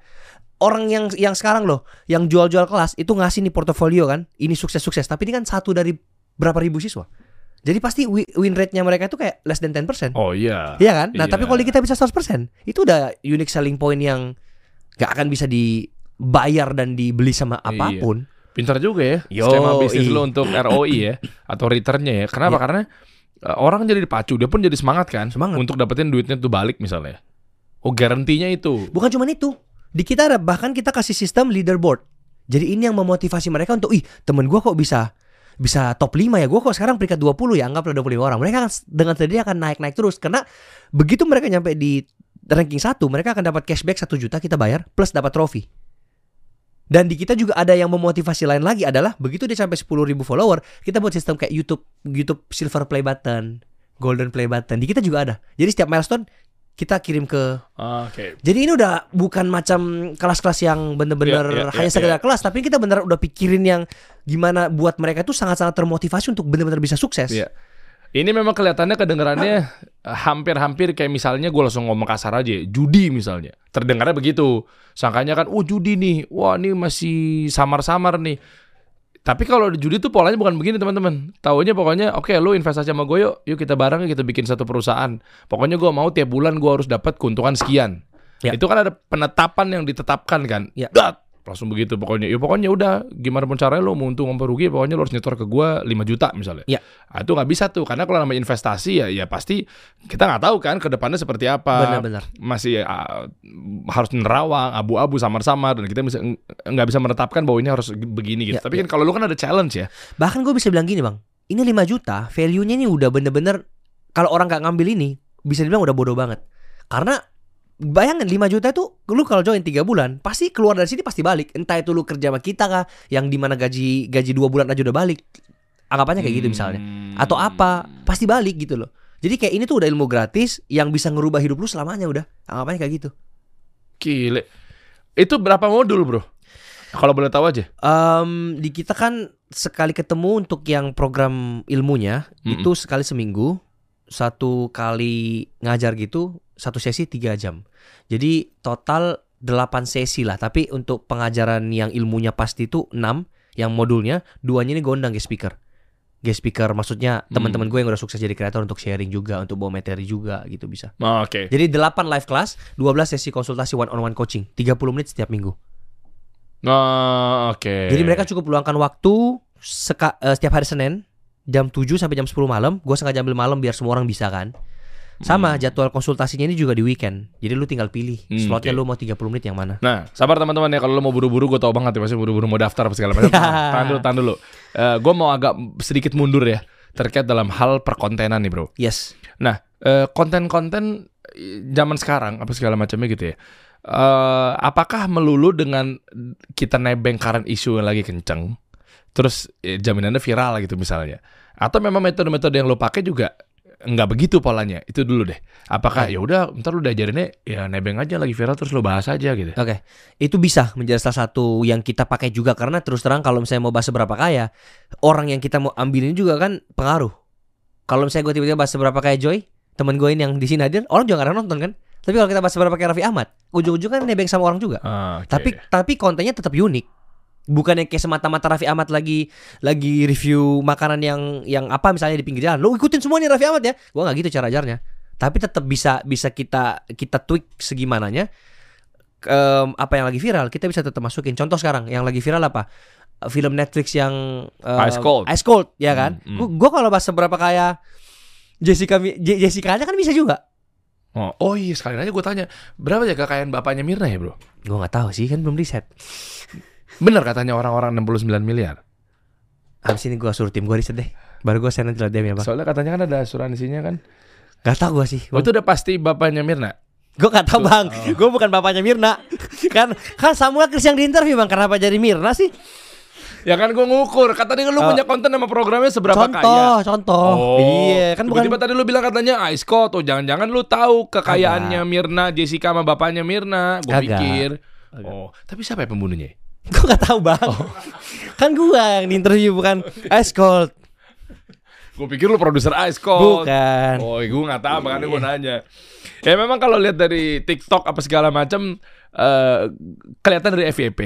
Speaker 2: Orang yang yang sekarang loh, yang jual-jual kelas itu ngasih nih portofolio kan. Ini sukses-sukses, tapi ini kan satu dari berapa ribu siswa. Jadi pasti wi- win rate-nya mereka itu kayak less than 10%.
Speaker 1: oh iya
Speaker 2: Iya kan? Nah,
Speaker 1: Iya.
Speaker 2: tapi kalau kita bisa 100%, itu udah unique selling point yang gak akan bisa dibayar dan dibeli sama
Speaker 1: Iya.
Speaker 2: apapun.
Speaker 1: Pintar juga ya
Speaker 2: Yo,
Speaker 1: skema bisnis
Speaker 2: i.
Speaker 1: lo untuk ROI ya atau returnnya ya. Kenapa?
Speaker 2: Iya.
Speaker 1: Karena uh, orang jadi dipacu, dia pun jadi semangat kan
Speaker 2: Semangat.
Speaker 1: untuk dapetin duitnya tuh balik misalnya. Oh, garantinya itu.
Speaker 2: Bukan cuma itu. Di kita ada bahkan kita kasih sistem leaderboard. Jadi ini yang memotivasi mereka untuk ih, temen gua kok bisa bisa top 5 ya gue kok sekarang peringkat 20 ya anggaplah 25 orang mereka akan, dengan sendirinya akan naik-naik terus karena begitu mereka nyampe di ranking 1 mereka akan dapat cashback 1 juta kita bayar plus dapat trofi dan di kita juga ada yang memotivasi lain lagi adalah begitu dia sampai 10.000 follower, kita buat sistem kayak YouTube, YouTube silver play button, golden play button. Di kita juga ada. Jadi setiap milestone kita kirim ke
Speaker 1: Oke.
Speaker 2: jadi ini udah bukan macam kelas-kelas yang bener-bener
Speaker 1: Iya, iya, iya,
Speaker 2: hanya sekedar
Speaker 1: iya.
Speaker 2: kelas, tapi kita bener udah pikirin yang gimana buat mereka tuh sangat-sangat termotivasi untuk bener-bener bisa sukses.
Speaker 1: Iya. Ini memang kelihatannya kedengarannya eh, hampir-hampir kayak misalnya gue langsung ngomong kasar aja, ya, judi misalnya. Terdengarnya begitu. Sangkanya kan, oh judi nih, wah ini masih samar-samar nih. Tapi kalau di judi tuh polanya bukan begini teman-teman. Taunya pokoknya, oke lu investasi sama gue yuk, yuk kita bareng yuk kita bikin satu perusahaan. Pokoknya gue mau tiap bulan gue harus dapat keuntungan sekian.
Speaker 2: Ya.
Speaker 1: Itu kan ada penetapan yang ditetapkan kan.
Speaker 2: Ya.
Speaker 1: Dat! langsung begitu pokoknya. Ya pokoknya udah gimana pun caranya lu mau untung mau rugi pokoknya lu harus nyetor ke gue 5 juta misalnya.
Speaker 2: Ya.
Speaker 1: Nah, itu nggak bisa tuh karena kalau namanya investasi ya ya pasti kita nggak tahu kan ke depannya seperti apa.
Speaker 2: Benar-benar.
Speaker 1: Masih ah, harus nerawang, abu-abu samar-samar dan kita bisa nggak bisa menetapkan bahwa ini harus begini gitu.
Speaker 2: Ya,
Speaker 1: Tapi kan kalau lu kan ada challenge ya.
Speaker 2: Bahkan gue bisa bilang gini bang, ini 5 juta, value-nya ini udah bener-bener kalau orang nggak ngambil ini bisa dibilang udah bodoh banget. Karena bayangin 5 juta itu lu kalau join 3 bulan pasti keluar dari sini pasti balik. Entah itu lu kerja sama kita kah, yang dimana gaji gaji 2 bulan aja udah balik. Anggapannya kayak gitu
Speaker 1: Hmm.
Speaker 2: misalnya. atau apa pasti balik gitu loh jadi kayak ini tuh udah ilmu gratis yang bisa ngerubah hidup lu selamanya udah anggapannya kayak gitu
Speaker 1: Gile. Itu berapa modul, Bro? Kalau boleh tahu aja.
Speaker 2: Em, di kita kan sekali ketemu untuk yang program ilmunya
Speaker 1: Mm-mm.
Speaker 2: itu sekali seminggu satu kali ngajar gitu satu sesi tiga jam jadi total 8 sesi lah tapi untuk pengajaran yang ilmunya pasti itu 6 yang modulnya duanya ini gondang guest speaker guest speaker maksudnya teman-teman gue yang udah sukses jadi kreator untuk sharing juga untuk bawa materi juga gitu bisa
Speaker 1: Oh, Oke.
Speaker 2: Jadi 8 live class, 12 sesi konsultasi one on one coaching, 30 menit setiap minggu.
Speaker 1: Oh, oke.
Speaker 2: Jadi mereka cukup luangkan waktu seka- eh, setiap hari Senin jam 7 sampai jam 10 malam. Gue sengaja ambil malam biar semua orang bisa kan. Sama jadwal konsultasinya ini juga di weekend. Jadi lu tinggal pilih
Speaker 1: Hmm, oke.
Speaker 2: slotnya lu mau 30 menit yang mana.
Speaker 1: Nah, sabar teman-teman ya kalau lo mau buru-buru gue tau banget ya pasti buru-buru mau daftar apa segala macam. Tahan tahan dulu, tahan dulu. gue mau agak sedikit mundur ya terkait dalam hal perkontenan nih, Bro.
Speaker 2: Yes.
Speaker 1: Nah, eh, konten-konten eh, zaman sekarang apa segala macamnya gitu ya. Eh, apakah melulu dengan kita nebeng current issue yang lagi kenceng, terus eh, jaminannya viral gitu misalnya? Atau memang metode-metode yang lo pakai juga nggak begitu polanya? Itu dulu deh. Apakah ya udah, ntar lu diajarinnya ya nebeng aja lagi viral terus lo bahas aja gitu.
Speaker 2: Oke, itu bisa menjadi salah satu yang kita pakai juga karena terus terang kalau misalnya mau bahas seberapa kaya, orang yang kita mau ambilin juga kan pengaruh. Kalau misalnya gue tiba-tiba bahas seberapa kaya Joy, teman gue ini yang di sini hadir, orang juga gak ada yang nonton kan. Tapi kalau kita bahas seberapa kaya Raffi Ahmad, ujung-ujungnya kan nebeng sama orang juga.
Speaker 1: Ah, oke.
Speaker 2: Tapi tapi kontennya tetap unik. Bukan yang kayak semata-mata Raffi Ahmad lagi lagi review makanan yang yang apa misalnya di pinggir jalan. Lo ikutin semua nih Raffi Ahmad ya. Gua nggak gitu cara ajarnya. Tapi tetap bisa bisa kita kita tweak segimananya em, apa yang lagi viral kita bisa tetap masukin. Contoh sekarang yang lagi viral apa? Film Netflix yang eh,
Speaker 1: Ice Cold.
Speaker 2: Ice Cold, ya kan?
Speaker 1: Hmm, hmm.
Speaker 2: Gue Gua kalau bahas seberapa kaya Jessica Mi- Je- Jessica-nya kan bisa juga.
Speaker 1: oh, oh iya sekalian aja gue tanya, berapa ya kekayaan bapaknya Mirna ya bro?
Speaker 2: Gua nggak tahu sih kan belum riset.
Speaker 1: Bener katanya orang-orang 69 miliar.
Speaker 2: Habis ini gua suruh tim gua riset deh. Baru gua send nanti lah DM ya, Bang.
Speaker 1: Soalnya katanya kan ada asuransinya kan.
Speaker 2: Gak tau gue sih
Speaker 1: Oh, itu udah pasti bapaknya Mirna.
Speaker 2: Gue gak
Speaker 1: Tuh.
Speaker 2: tau bang Gue bukan bapaknya Mirna Kan kan Samuel Chris yang diinterview bang Kenapa jadi Mirna sih
Speaker 1: Ya kan gue ngukur. Kata tadi lu
Speaker 2: Oh.
Speaker 1: punya konten sama programnya seberapa
Speaker 2: Contoh
Speaker 1: kaya. Oh,
Speaker 2: Contoh Iya kan bukan
Speaker 1: Tiba-tiba tadi lu bilang katanya Ice Cold tuh jangan-jangan lu tahu kekayaannya Mirna, Jessica sama bapaknya Mirna. Gue
Speaker 2: Kagak.
Speaker 1: pikir. Oh, tapi siapa ya pembunuhnya?
Speaker 2: Gue gak tau bang
Speaker 1: Oh.
Speaker 2: Kan gue yang diinterview bukan Ice Cold
Speaker 1: Gue pikir lu produser Ice Cold.
Speaker 2: Bukan Iya.
Speaker 1: Oh, gue nggak tahu makanya gue nanya. Ya memang kalau lihat dari TikTok apa segala macam eh kelihatan dari FYP.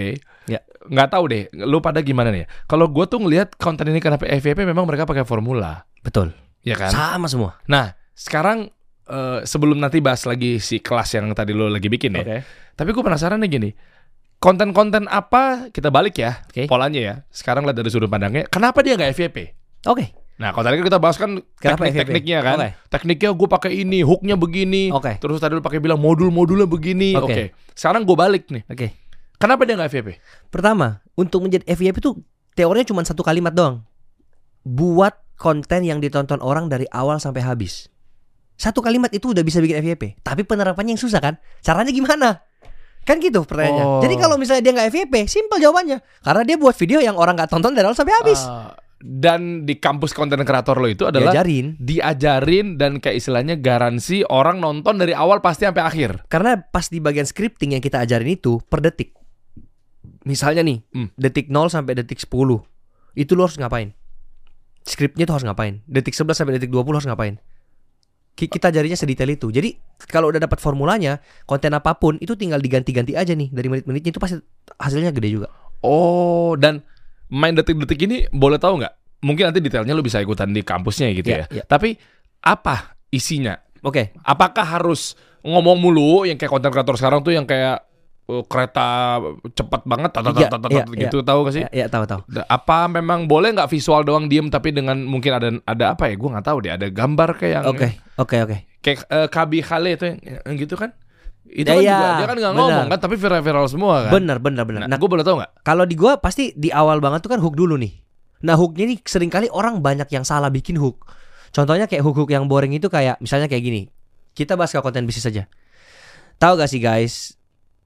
Speaker 2: Ya.
Speaker 1: Nggak tahu deh, lu pada gimana nih? Kalau gue tuh ngelihat konten ini kenapa FYP memang mereka pakai formula,
Speaker 2: Betul
Speaker 1: ya kan?
Speaker 2: Sama semua
Speaker 1: Nah, sekarang eh, sebelum nanti bahas lagi si kelas yang tadi lo lagi bikin ya. Tapi gue penasaran nih gini. Konten-konten apa kita balik ya
Speaker 2: Oke.
Speaker 1: polanya ya. Sekarang lihat dari sudut pandangnya, kenapa dia nggak FYP?
Speaker 2: Oke
Speaker 1: Nah, kalau tadi kan kita bahas kan
Speaker 2: Kenapa FYP?
Speaker 1: teknik-tekniknya kan.
Speaker 2: Oke.
Speaker 1: Tekniknya gue pakai ini, hooknya begini.
Speaker 2: Oke.
Speaker 1: Terus tadi lu pakai bilang modul-modulnya begini. Oke.
Speaker 2: Oke.
Speaker 1: Sekarang gue balik nih.
Speaker 2: Oke
Speaker 1: Kenapa dia nggak FYP?
Speaker 2: Pertama Untuk menjadi FYP tuh Teorinya cuma satu kalimat doang buat konten yang ditonton orang dari awal sampai habis. Satu kalimat itu udah bisa bikin FYP, tapi penerapannya yang susah kan? Caranya gimana? Kan gitu pertanyaannya.
Speaker 1: Oh.
Speaker 2: Jadi kalau misalnya dia nggak FYP, simpel jawabannya. Karena dia buat video yang orang nggak tonton dari awal sampai habis.
Speaker 1: Eh, dan di kampus konten kreator lo itu adalah
Speaker 2: Diajarin.
Speaker 1: diajarin dan kayak istilahnya garansi orang nonton dari awal pasti sampai akhir.
Speaker 2: Karena pas di bagian scripting yang kita ajarin itu per detik. Misalnya nih,
Speaker 1: Hmm.
Speaker 2: detik 0 sampai detik 10. Itu lo harus ngapain? Skripnya tuh harus ngapain? Detik 11 sampai detik 20 harus ngapain? Ki- Kita jarinya sedetail itu. Jadi kalau udah dapat formulanya, konten apapun itu tinggal diganti-ganti aja nih dari menit-menitnya itu pasti hasilnya gede juga.
Speaker 1: Oh, dan main detik-detik ini boleh tahu nggak? Mungkin nanti detailnya lo bisa ikutan di kampusnya gitu
Speaker 2: Iya,
Speaker 1: ya.
Speaker 2: iya.
Speaker 1: Tapi apa isinya?
Speaker 2: Oke,
Speaker 1: Apakah harus ngomong mulu yang kayak konten kreator sekarang tuh yang kayak eh, kereta cepat banget tatat,
Speaker 2: Iya,
Speaker 1: tatat, tatat,
Speaker 2: iya,
Speaker 1: gitu tahu gak sih?
Speaker 2: ya, ya tahu tahu.
Speaker 1: Da- Apa memang boleh nggak visual doang diem tapi dengan mungkin ada ada apa ya? Gue nggak tahu deh. Ada gambar kayak yang
Speaker 2: Oke, oke, oke.
Speaker 1: kayak eh, Kabi Khale itu yang, yang gitu kan? Itu
Speaker 2: Ya,
Speaker 1: kan
Speaker 2: iya,
Speaker 1: juga dia kan nggak ngomong
Speaker 2: benar.
Speaker 1: kan tapi viral-viral semua kan.
Speaker 2: Benar, benar, benar.
Speaker 1: Nah,
Speaker 2: Nah,
Speaker 1: gue boleh tahu nggak?
Speaker 2: kalau di gua pasti di awal banget tuh kan hook dulu nih. Nah hooknya nih seringkali orang banyak yang salah bikin hook. Contohnya kayak hook-hook yang boring itu kayak misalnya kayak gini. Kita bahas ke konten bisnis aja. Tahu gak sih guys?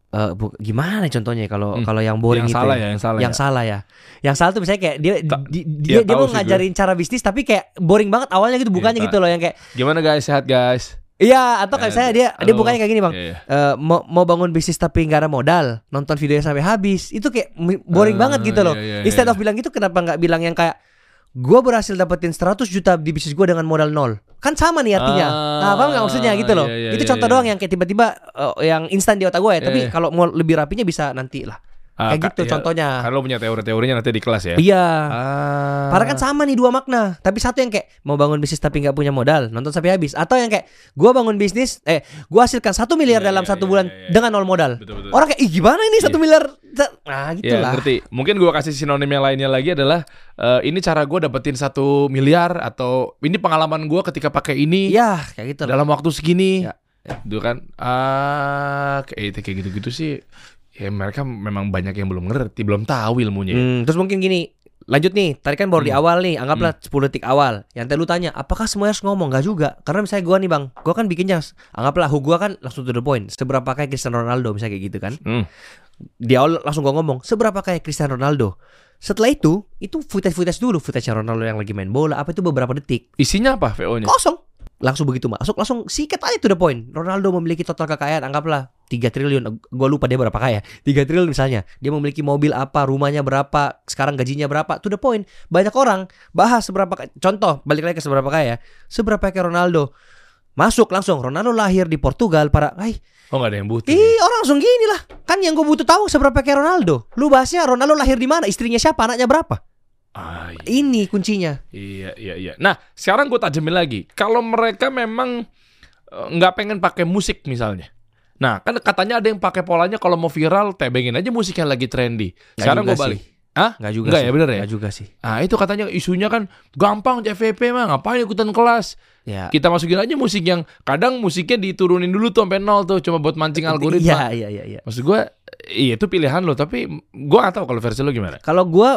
Speaker 2: Eh, bu- gimana contohnya kalau
Speaker 1: Hmm,
Speaker 2: kalau yang boring
Speaker 1: yang
Speaker 2: itu?
Speaker 1: salah ya,
Speaker 2: ya?
Speaker 1: yang salah.
Speaker 2: Yang
Speaker 1: ya.
Speaker 2: salah ya. Yang salah tuh misalnya kayak dia
Speaker 1: Ta-
Speaker 2: di-
Speaker 1: iya,
Speaker 2: dia
Speaker 1: tahu
Speaker 2: dia mau
Speaker 1: sih gue.
Speaker 2: ngajarin cara bisnis tapi kayak boring banget awalnya gitu bukannya
Speaker 1: Iya,
Speaker 2: gitu loh yang kayak
Speaker 1: Gimana guys sehat guys?
Speaker 2: iya atau
Speaker 1: Eh,
Speaker 2: kayak misalnya dia dia
Speaker 1: halo.
Speaker 2: bukannya kayak gini bang.
Speaker 1: Iya, iya.
Speaker 2: Eh, mau mau bangun bisnis tapi nggak ada modal nonton videonya sampai habis itu kayak mi- boring
Speaker 1: Eh,
Speaker 2: banget gitu loh
Speaker 1: iya, iya,
Speaker 2: instead
Speaker 1: iya.
Speaker 2: of bilang gitu kenapa nggak bilang yang kayak gua berhasil dapetin 100 juta di bisnis gua dengan modal nol kan sama nih artinya
Speaker 1: Ah,
Speaker 2: nah, paham nggak maksudnya gitu loh
Speaker 1: iya, iya,
Speaker 2: itu
Speaker 1: iya,
Speaker 2: contoh
Speaker 1: iya.
Speaker 2: doang yang kayak tiba-tiba eh, yang instan di otak gue ya
Speaker 1: Iya,
Speaker 2: tapi
Speaker 1: iya.
Speaker 2: kalau mau lebih rapinya bisa nanti lah
Speaker 1: Ah,
Speaker 2: kayak
Speaker 1: ka-
Speaker 2: gitu
Speaker 1: iya.
Speaker 2: contohnya
Speaker 1: Karena lo punya teori-teorinya nanti di kelas ya.
Speaker 2: iya
Speaker 1: Ah.
Speaker 2: Padahal kan sama nih dua makna, tapi satu yang kayak mau bangun bisnis tapi nggak punya modal, nonton sampai habis, atau yang kayak gua bangun bisnis, eh gua hasilkan satu miliar
Speaker 1: Iya,
Speaker 2: dalam
Speaker 1: iya,
Speaker 2: satu
Speaker 1: iya,
Speaker 2: bulan
Speaker 1: iya, iya.
Speaker 2: dengan nol modal.
Speaker 1: Betul, betul.
Speaker 2: Orang kayak ih gimana ini satu
Speaker 1: Iya.
Speaker 2: miliar? Nah
Speaker 1: Iya,
Speaker 2: gitulah.
Speaker 1: ngerti. Mungkin gua kasih sinonim yang lainnya lagi adalah eh, ini cara gua dapetin satu miliar atau ini pengalaman gua ketika pakai ini
Speaker 2: Iya kayak gitu. lah.
Speaker 1: dalam waktu segini.
Speaker 2: Ya,
Speaker 1: Itu kan ah kayak kayak gitu-gitu sih. Ya mereka memang banyak yang belum ngerti, belum tahu ilmunya.
Speaker 2: Hmm, terus mungkin gini, lanjut nih, tadi kan baru di
Speaker 1: Iya. Hmm.
Speaker 2: awal nih, anggaplah 10 detik awal. Yang tadi lu tanya, apakah semuanya harus ngomong? Gak juga, karena misalnya gua nih bang, gua kan bikinnya, anggaplah hook gua kan langsung to the point. Seberapa kayak Cristiano Ronaldo misalnya kayak gitu kan?
Speaker 1: Hmm.
Speaker 2: di awal langsung gua ngomong seberapa kayak Cristiano Ronaldo. Setelah itu, itu footage-footage dulu, footage Ronaldo yang lagi main bola, apa itu beberapa detik,
Speaker 1: Isinya apa VO-nya?
Speaker 2: kosong. Langsung begitu masuk, langsung sikat aja to the point. Ronaldo memiliki total kekayaan, anggaplah 3 triliun, gua lupa dia berapa kaya, 3 triliun misalnya. Dia memiliki mobil apa, rumahnya berapa, sekarang gajinya berapa, to the point. Banyak orang bahas seberapa, ka- contoh, balik lagi ke seberapa kaya, seberapa kayak Ronaldo. Masuk langsung, Ronaldo lahir di Portugal, para, "Hai,
Speaker 1: Oh nggak ada yang butuh.
Speaker 2: Ih, orang langsung gini lah. Kan yang gue butuh tahu seberapa kayak Ronaldo. Lu bahasnya Ronaldo lahir di mana, istrinya siapa, anaknya berapa.
Speaker 1: Ah, iya.
Speaker 2: Ini kuncinya.
Speaker 1: Iya, iya, iya. Nah, sekarang gue tajemin lagi. Kalau mereka memang eh, nggak pengen pakai musik misalnya. Nah, kan katanya ada yang pakai polanya kalau mau viral, tebengin aja musik yang lagi trendy. Sekarang gue balik. Hah?
Speaker 2: Enggak juga
Speaker 1: Nggak
Speaker 2: sih.
Speaker 1: ya, bener ya?
Speaker 2: Nggak juga sih.
Speaker 1: Nah, itu katanya isunya kan gampang FVP mah, ngapain ikutan kelas.
Speaker 2: Ya.
Speaker 1: Kita masukin aja musik yang kadang musiknya diturunin dulu tuh sampai nol tuh cuma buat mancing
Speaker 2: Iya,
Speaker 1: algoritma.
Speaker 2: iya, iya, iya.
Speaker 1: Maksud gue, iya itu pilihan lo, tapi gue gak tahu kalau versi lo gimana.
Speaker 2: Kalau gue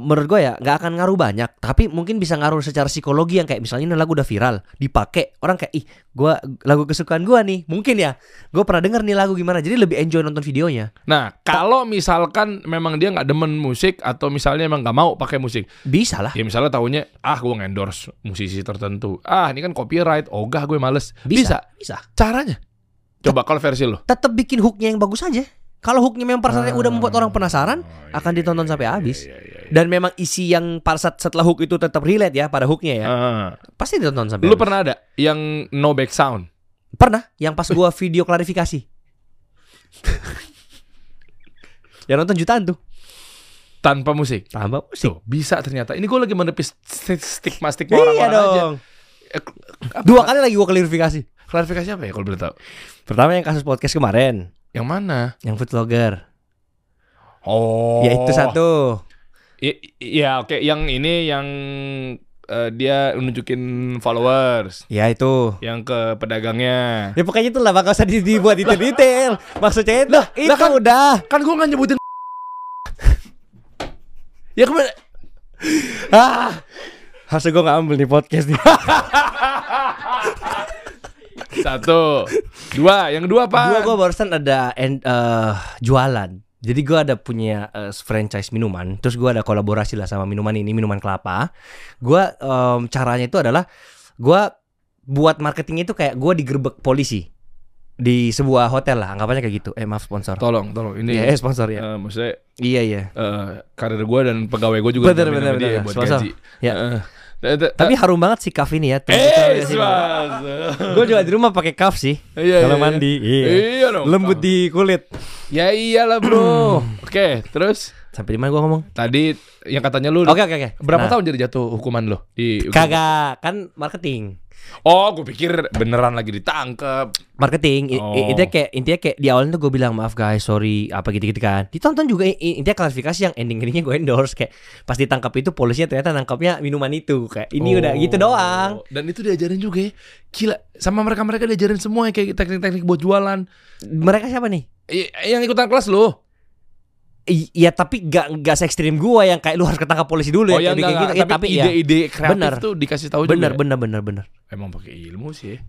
Speaker 2: menurut gue ya nggak akan ngaruh banyak tapi mungkin bisa ngaruh secara psikologi yang kayak misalnya ini lagu udah viral dipakai orang kayak ih gua lagu kesukaan gua nih mungkin ya gue pernah denger nih lagu gimana jadi lebih enjoy nonton videonya
Speaker 1: Nah, kalau misalkan memang dia nggak demen musik atau misalnya emang nggak mau pakai musik,
Speaker 2: bisa lah
Speaker 1: Ya misalnya tahunya ah gue endorse musisi tertentu. Ah ini kan copyright, ogah gue males. Bisa.
Speaker 2: bisa
Speaker 1: Caranya? Coba kalau versi lo.
Speaker 2: tetap bikin hooknya yang bagus aja kalau hooknya memang pasarnya
Speaker 1: Ah.
Speaker 2: udah membuat orang penasaran
Speaker 1: Oh,
Speaker 2: akan
Speaker 1: iya,
Speaker 2: ditonton
Speaker 1: iya,
Speaker 2: sampai
Speaker 1: iya,
Speaker 2: habis.
Speaker 1: iya, iya, iya.
Speaker 2: Dan memang isi yang par- set- setelah hook itu tetap relate ya pada hooknya ya.
Speaker 1: Ah.
Speaker 2: Pasti ditonton sampai.
Speaker 1: Lu
Speaker 2: habis.
Speaker 1: pernah ada yang no back sound?
Speaker 2: pernah yang pas gua video klarifikasi. yang nonton jutaan tuh.
Speaker 1: Tanpa musik?
Speaker 2: Tambah musik.
Speaker 1: Tuh, bisa ternyata. Ini gue lagi menepis sti- stigma-stigma
Speaker 2: Iya
Speaker 1: orang-orang aja.
Speaker 2: dong.
Speaker 1: Eh, k-
Speaker 2: Dua kali lagi gua klarifikasi.
Speaker 1: Klarifikasi apa ya kalau boleh tahu?
Speaker 2: Pertama yang kasus podcast kemarin,
Speaker 1: Yang mana?
Speaker 2: yang food vlogger.
Speaker 1: Oh.
Speaker 2: Ya itu satu.
Speaker 1: I- i- Ya oke, yang ini yang eh, dia nunjukin followers.
Speaker 2: Ya itu.
Speaker 1: Yang ke pedagangnya.
Speaker 2: Ya pokoknya itulah bakal usah di- dibuat detail-detail. Maksudnya itu, itu
Speaker 1: kan-
Speaker 2: udah.
Speaker 1: Kan gue nggak nyebutin Ya kemarin
Speaker 2: Ah, Harusnya gue gak ambil nih podcast nih
Speaker 1: Satu, dua, yang dua
Speaker 2: Dua
Speaker 1: pak.
Speaker 2: gue barusan ada en- eh, jualan Jadi gue ada punya eh, franchise minuman Terus gue ada kolaborasi lah sama minuman ini Minuman kelapa Gue em, caranya itu adalah Gue buat marketing itu kayak gue digerebek polisi Di sebuah hotel lah Anggapannya kayak gitu Eh maaf sponsor
Speaker 1: Tolong, tolong. Ini
Speaker 2: Iya eh, sponsor ya
Speaker 1: eh, maksudnya
Speaker 2: Iya iya
Speaker 1: eh, karir gue dan pegawai gue juga
Speaker 2: Bener,
Speaker 1: dijamin
Speaker 2: bener,
Speaker 1: sama dia
Speaker 2: bener.
Speaker 1: buat
Speaker 2: Swasta.
Speaker 1: gaji.
Speaker 2: Ya.
Speaker 1: Eh, eh, eh,
Speaker 2: Tapi harum banget sih cuff ini ya
Speaker 1: eh, swasta.
Speaker 2: Gue juga di rumah pakai cuff sih
Speaker 1: Iya,
Speaker 2: Kalau
Speaker 1: iya,
Speaker 2: mandi
Speaker 1: iya.
Speaker 2: iya.
Speaker 1: Iya dong.
Speaker 2: Lembut Hmm. di kulit
Speaker 1: Ya iyalah bro. Oke, terus
Speaker 2: Sampai di mana gue ngomong
Speaker 1: tadi yang katanya lu
Speaker 2: Oke oke oke
Speaker 1: berapa
Speaker 2: Nah,
Speaker 1: tahun jadi jatuh hukuman lo di
Speaker 2: Kagak Kan marketing
Speaker 1: Oh, gue pikir beneran lagi ditangkep.
Speaker 2: marketing I- i-
Speaker 1: Oh.
Speaker 2: intinya kayak intinya kayak di awalnya tuh gue bilang maaf guys sorry apa gitu-gitu kan ditonton juga i- i- intinya klarifikasi yang ending endingnya gue endorse kayak pas ditangkap itu polisinya ternyata nangkapnya minuman itu kayak ini udah
Speaker 1: Oh.
Speaker 2: gitu doang
Speaker 1: Dan itu diajarin juga ya. Gila, sama mereka-mereka diajarin semua ya, kayak teknik-teknik buat jualan.
Speaker 2: mereka siapa nih
Speaker 1: I- yang ikutan kelas lo.
Speaker 2: I- Iya tapi gak gak se ekstrim gue yang kayak lu harus ketangkap polisi dulu
Speaker 1: Oh,
Speaker 2: ya
Speaker 1: yang
Speaker 2: kayak
Speaker 1: enggak,
Speaker 2: gitu.
Speaker 1: enggak.
Speaker 2: Ya,
Speaker 1: tapi
Speaker 2: ya,
Speaker 1: ide-ide kreatif
Speaker 2: Bener.
Speaker 1: tuh dikasih tahu
Speaker 2: bener
Speaker 1: juga. ya.
Speaker 2: bener bener bener
Speaker 1: Emang pakai ilmu sih. ya.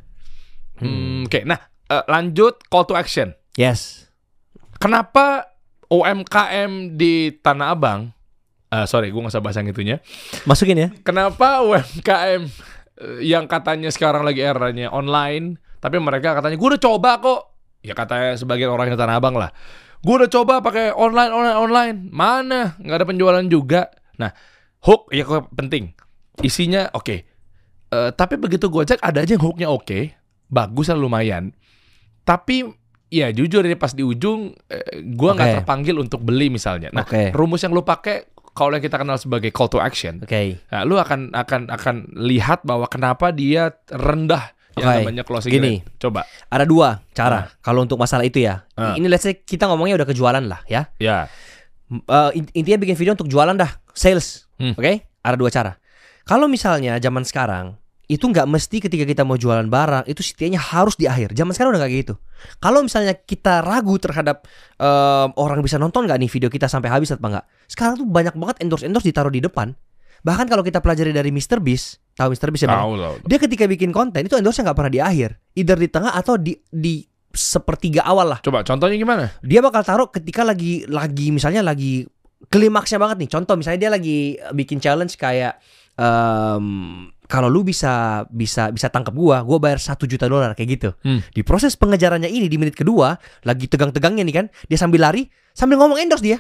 Speaker 1: Hmm, oke. Nah, eh, lanjut call to action.
Speaker 2: yes
Speaker 1: Kenapa UMKM di Tanah Abang eh sorry, gue gak usah bahas yang itunya.
Speaker 2: masukin ya
Speaker 1: Kenapa UMKM eh, yang katanya sekarang lagi eranya online, tapi mereka katanya gue udah coba kok. Ya katanya sebagian orang yang tanah abang lah. Gue udah coba pakai online, online, online. Mana nggak ada penjualan juga. Nah, hook ya kok penting. Isinya oke. Eh, tapi begitu gue cek ada aja yang hooknya oke, bagus lah lumayan. Tapi ya jujur ini pas di ujung eh, gue nggak
Speaker 2: Oke.
Speaker 1: terpanggil untuk beli misalnya. Nah,
Speaker 2: Oke.
Speaker 1: rumus yang lu pakai kalau yang kita kenal sebagai call to action
Speaker 2: oke
Speaker 1: Nah, lu akan akan akan lihat bahwa kenapa dia rendah yang
Speaker 2: Oke.
Speaker 1: namanya closing
Speaker 2: Gini.
Speaker 1: rate. Coba.
Speaker 2: ada dua cara kalau untuk masalah itu ya
Speaker 1: Nah. Ah.
Speaker 2: ini let's say kita ngomongnya udah kejualan lah ya
Speaker 1: Ya.
Speaker 2: M- eh, int- intinya bikin video untuk jualan dah sales
Speaker 1: Hmm.
Speaker 2: oke ada dua cara kalau misalnya zaman sekarang itu nggak mesti ketika kita mau jualan barang itu setidaknya harus di akhir zaman sekarang udah nggak kayak gitu kalau misalnya kita ragu terhadap em, orang bisa nonton nggak nih video kita sampai habis atau nggak sekarang tuh banyak banget endorse endorse ditaruh di depan bahkan kalau kita pelajari dari Mr. Beast tahu Mr. Beast ya Bang?
Speaker 1: Tahu loh.
Speaker 2: dia ketika bikin konten itu endorse nggak pernah di akhir either di tengah atau di di sepertiga awal lah
Speaker 1: Coba contohnya gimana?
Speaker 2: dia bakal taruh ketika lagi lagi misalnya lagi klimaksnya banget nih contoh misalnya dia lagi eh, bikin challenge kayak em, kalau lu bisa bisa bisa tangkap gua gua bayar satu juta dolar kayak gitu
Speaker 1: Hmm.
Speaker 2: di proses pengejarannya ini di menit kedua lagi tegang-tegangnya nih kan dia sambil lari sambil ngomong endorse dia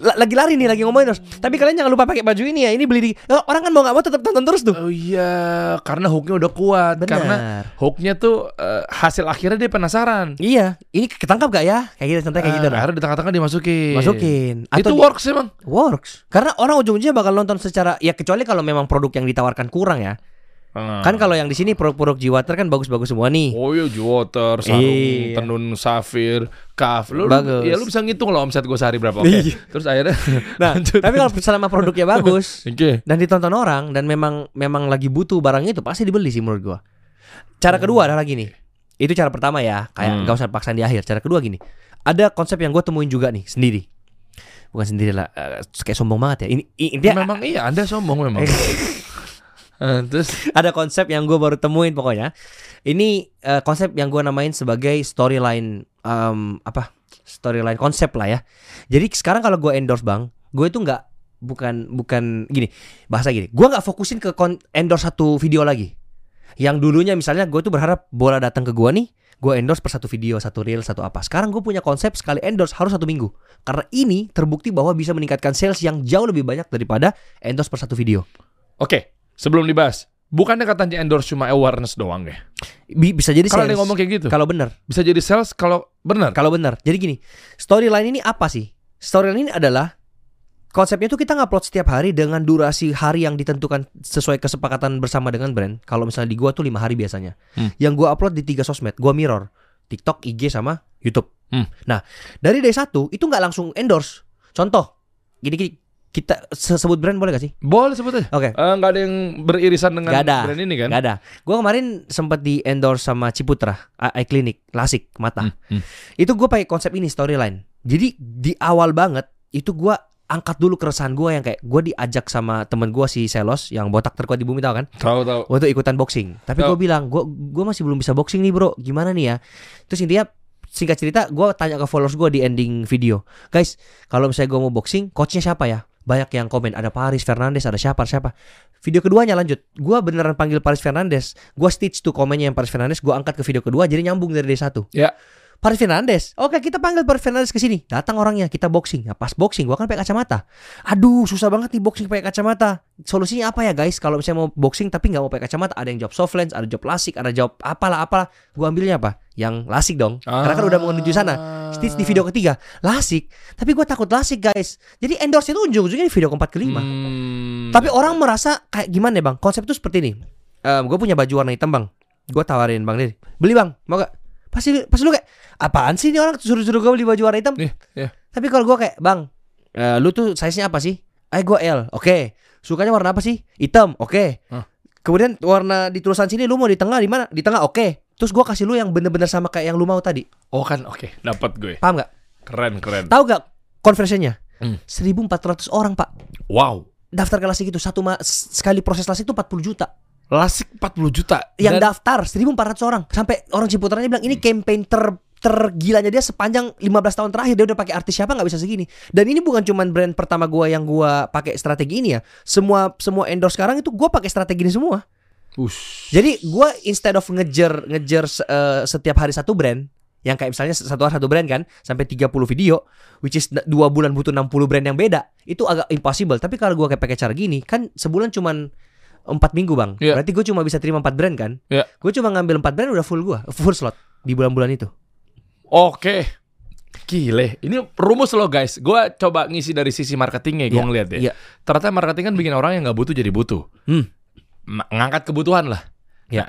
Speaker 2: La- lagi lari nih lagi ngomong endorse tapi kalian jangan lupa pakai baju ini ya ini beli di Eh, orang kan mau nggak mau tetap tonton terus tuh
Speaker 1: Oh iya, karena hooknya udah kuat.
Speaker 2: Benar.
Speaker 1: Karena hooknya tuh eh, hasil akhirnya dia penasaran.
Speaker 2: iya ini ketangkap gak ya kayak gitu contohnya kayak gitu
Speaker 1: Ah,
Speaker 2: nah.
Speaker 1: akhirnya di tengah-tengah dimasukin.
Speaker 2: masukin
Speaker 1: itu
Speaker 2: Atau di-
Speaker 1: works emang.
Speaker 2: Works. Karena orang ujung-ujungnya bakal nonton secara ya kecuali kalau memang produk yang ditawarkan kurang ya.
Speaker 1: Ah.
Speaker 2: Kan kalau yang di sini produk-produk Jiwater kan bagus-bagus semua nih.
Speaker 1: Oh iya, Juwater, sarung,
Speaker 2: Iya.
Speaker 1: tenun safir, kaf. Lu,
Speaker 2: Bagus.
Speaker 1: Ya lu bisa ngitung lah omset gue sehari berapa. Oke.
Speaker 2: Iya.
Speaker 1: Terus akhirnya
Speaker 2: Nah,
Speaker 1: lanjut.
Speaker 2: tapi kalau selama produknya bagus
Speaker 1: Oke.
Speaker 2: dan ditonton orang dan memang memang lagi butuh barangnya itu pasti dibeli sih menurut gua. Cara kedua adalah gini. Itu cara pertama
Speaker 1: Oh. Hmm.
Speaker 2: ya, kayak nggak usah paksaan di akhir. Cara kedua gini. Ada konsep yang gua temuin juga nih sendiri. Bukan sendiri lah, eh, kayak sombong banget ya. Ini ini- dia
Speaker 1: Memang iya, Anda sombong memang. Eh, terus
Speaker 2: ada konsep yang gue baru temuin pokoknya. Ini eh, konsep yang gue namain sebagai storyline em, apa? Storyline konsep lah ya. Jadi sekarang kalau gue endorse bang, gue itu nggak bukan bukan gini bahasa gini. Gue nggak fokusin ke kon- endorse satu video lagi. Yang dulunya misalnya gue tuh berharap bola datang ke gue nih, gue endorse per satu video, satu reel, satu apa. Sekarang gue punya konsep sekali endorse harus satu minggu. Karena ini terbukti bahwa bisa meningkatkan sales yang jauh lebih banyak daripada endorse per satu video.
Speaker 1: Oke, sebelum dibahas, bukannya katanya endorse cuma awareness doang ya?
Speaker 2: Bi- bisa jadi
Speaker 1: Kalau
Speaker 2: sales.
Speaker 1: dia ngomong kayak gitu,
Speaker 2: Kalau benar,
Speaker 1: bisa jadi sales kalau benar.
Speaker 2: kalau benar. Jadi gini, storyline ini apa sih? Storyline ini adalah konsepnya tuh kita ngupload setiap hari dengan durasi hari yang ditentukan sesuai kesepakatan bersama dengan brand. Kalau misalnya di gua tuh lima hari biasanya.
Speaker 1: Hmm.
Speaker 2: Yang gua upload di tiga sosmed, gua mirror, TikTok, IG sama YouTube.
Speaker 1: Hmm.
Speaker 2: Nah, dari day satu itu nggak langsung endorse. Contoh, gini, gini kita se- sebut brand boleh gak sih?
Speaker 1: Boleh sebut aja.
Speaker 2: Oke.
Speaker 1: Eh, nggak ada yang beririsan dengan
Speaker 2: Nggak ada.
Speaker 1: brand ini kan?
Speaker 2: Gak ada. Gue kemarin sempat di endorse sama Ciputra, eye clinic, lasik mata.
Speaker 1: Hmm, hmm.
Speaker 2: Itu gue pakai konsep ini storyline. Jadi di awal banget itu gue angkat dulu keresahan gue yang kayak gue diajak sama temen gue si Selos yang botak terkuat di bumi tau kan
Speaker 1: Tahu tahu.
Speaker 2: untuk ikutan boxing tapi
Speaker 1: Tau.
Speaker 2: gue bilang gue gue masih belum bisa boxing nih bro gimana nih ya terus intinya singkat cerita gue tanya ke followers gue di ending video guys kalau misalnya gue mau boxing coachnya siapa ya banyak yang komen ada Paris Fernandes ada siapa ada siapa video keduanya lanjut gue beneran panggil Paris Fernandes gue stitch tuh komennya yang Paris Fernandes gue angkat ke video kedua jadi nyambung dari day satu
Speaker 1: Ya.
Speaker 2: Paris Fernandes. Oke, kita panggil Paris Fernandes ke sini. Datang orangnya, kita boxing. Ya, pas boxing gua kan pakai kacamata. Aduh, susah banget nih boxing pakai kacamata. Solusinya apa ya, guys? Kalau misalnya mau boxing tapi nggak mau pakai kacamata, ada yang job soft lens, ada job lasik, ada job apalah apalah. Gua ambilnya apa? Yang lasik dong. Karena kan udah mau
Speaker 1: Ah.
Speaker 2: menuju sana. Stitch di video ketiga, lasik. Tapi gua takut lasik, guys. Jadi endorse itu ujung-ujungnya di video keempat kelima.
Speaker 1: Hmm.
Speaker 2: Tapi orang merasa kayak gimana ya bang? Konsep itu seperti ini. gue punya baju warna hitam bang. Gue tawarin bang Dedi. Beli bang, mau gak? Pasti, pasti lu kayak apaan sih ini orang suruh-suruh gue beli baju warna hitam?
Speaker 1: Iya, iya.
Speaker 2: Tapi kalau gue kayak bang, eh, lu tuh size-nya apa sih? Eh gue L, oke. Sukanya warna apa sih? Hitam, oke.
Speaker 1: Hah.
Speaker 2: Kemudian warna di tulisan sini lu mau di tengah di mana? Di tengah, oke. Terus gue kasih lu yang bener-bener sama kayak yang lu mau tadi.
Speaker 1: Oh kan, oke, dapat gue.
Speaker 2: Paham gak?
Speaker 1: Keren, keren.
Speaker 2: Tahu gak conversionnya?
Speaker 1: Hmm.
Speaker 2: 1400 orang pak
Speaker 1: Wow.
Speaker 2: daftar ke lasik itu satu ma- sekali proses lasik itu 40 juta
Speaker 1: Lasik 40 juta.
Speaker 2: yang
Speaker 1: Dan- Hmm.
Speaker 2: daftar 1400 orang sampai orang Ciputranya bilang ini campaign ter tergilanya dia sepanjang 15 tahun terakhir dia udah pakai artis siapa nggak bisa segini dan ini bukan cuman brand pertama gua yang gua pakai strategi ini ya semua semua endorse sekarang itu gua pakai strategi ini semua
Speaker 1: Ush.
Speaker 2: jadi gua instead of ngejar ngejar eh, setiap hari satu brand yang kayak misalnya satu hari satu brand kan sampai 30 video which is n- dua bulan butuh 60 brand yang beda itu agak impossible tapi kalau gua kayak pakai cara gini kan sebulan cuman empat minggu bang
Speaker 1: Iya.
Speaker 2: berarti gue cuma bisa terima empat brand kan
Speaker 1: Iya.
Speaker 2: gue cuma ngambil empat brand udah full gua full slot di bulan-bulan itu
Speaker 1: Oke. Gile, ini rumus loh guys. Gua coba ngisi dari sisi marketingnya, gue
Speaker 2: Iya,
Speaker 1: ngeliat ya.
Speaker 2: iya.
Speaker 1: Ternyata marketing kan bikin orang yang nggak butuh jadi butuh.
Speaker 2: Hmm.
Speaker 1: Ma- Ngangkat kebutuhan lah.
Speaker 2: Iya.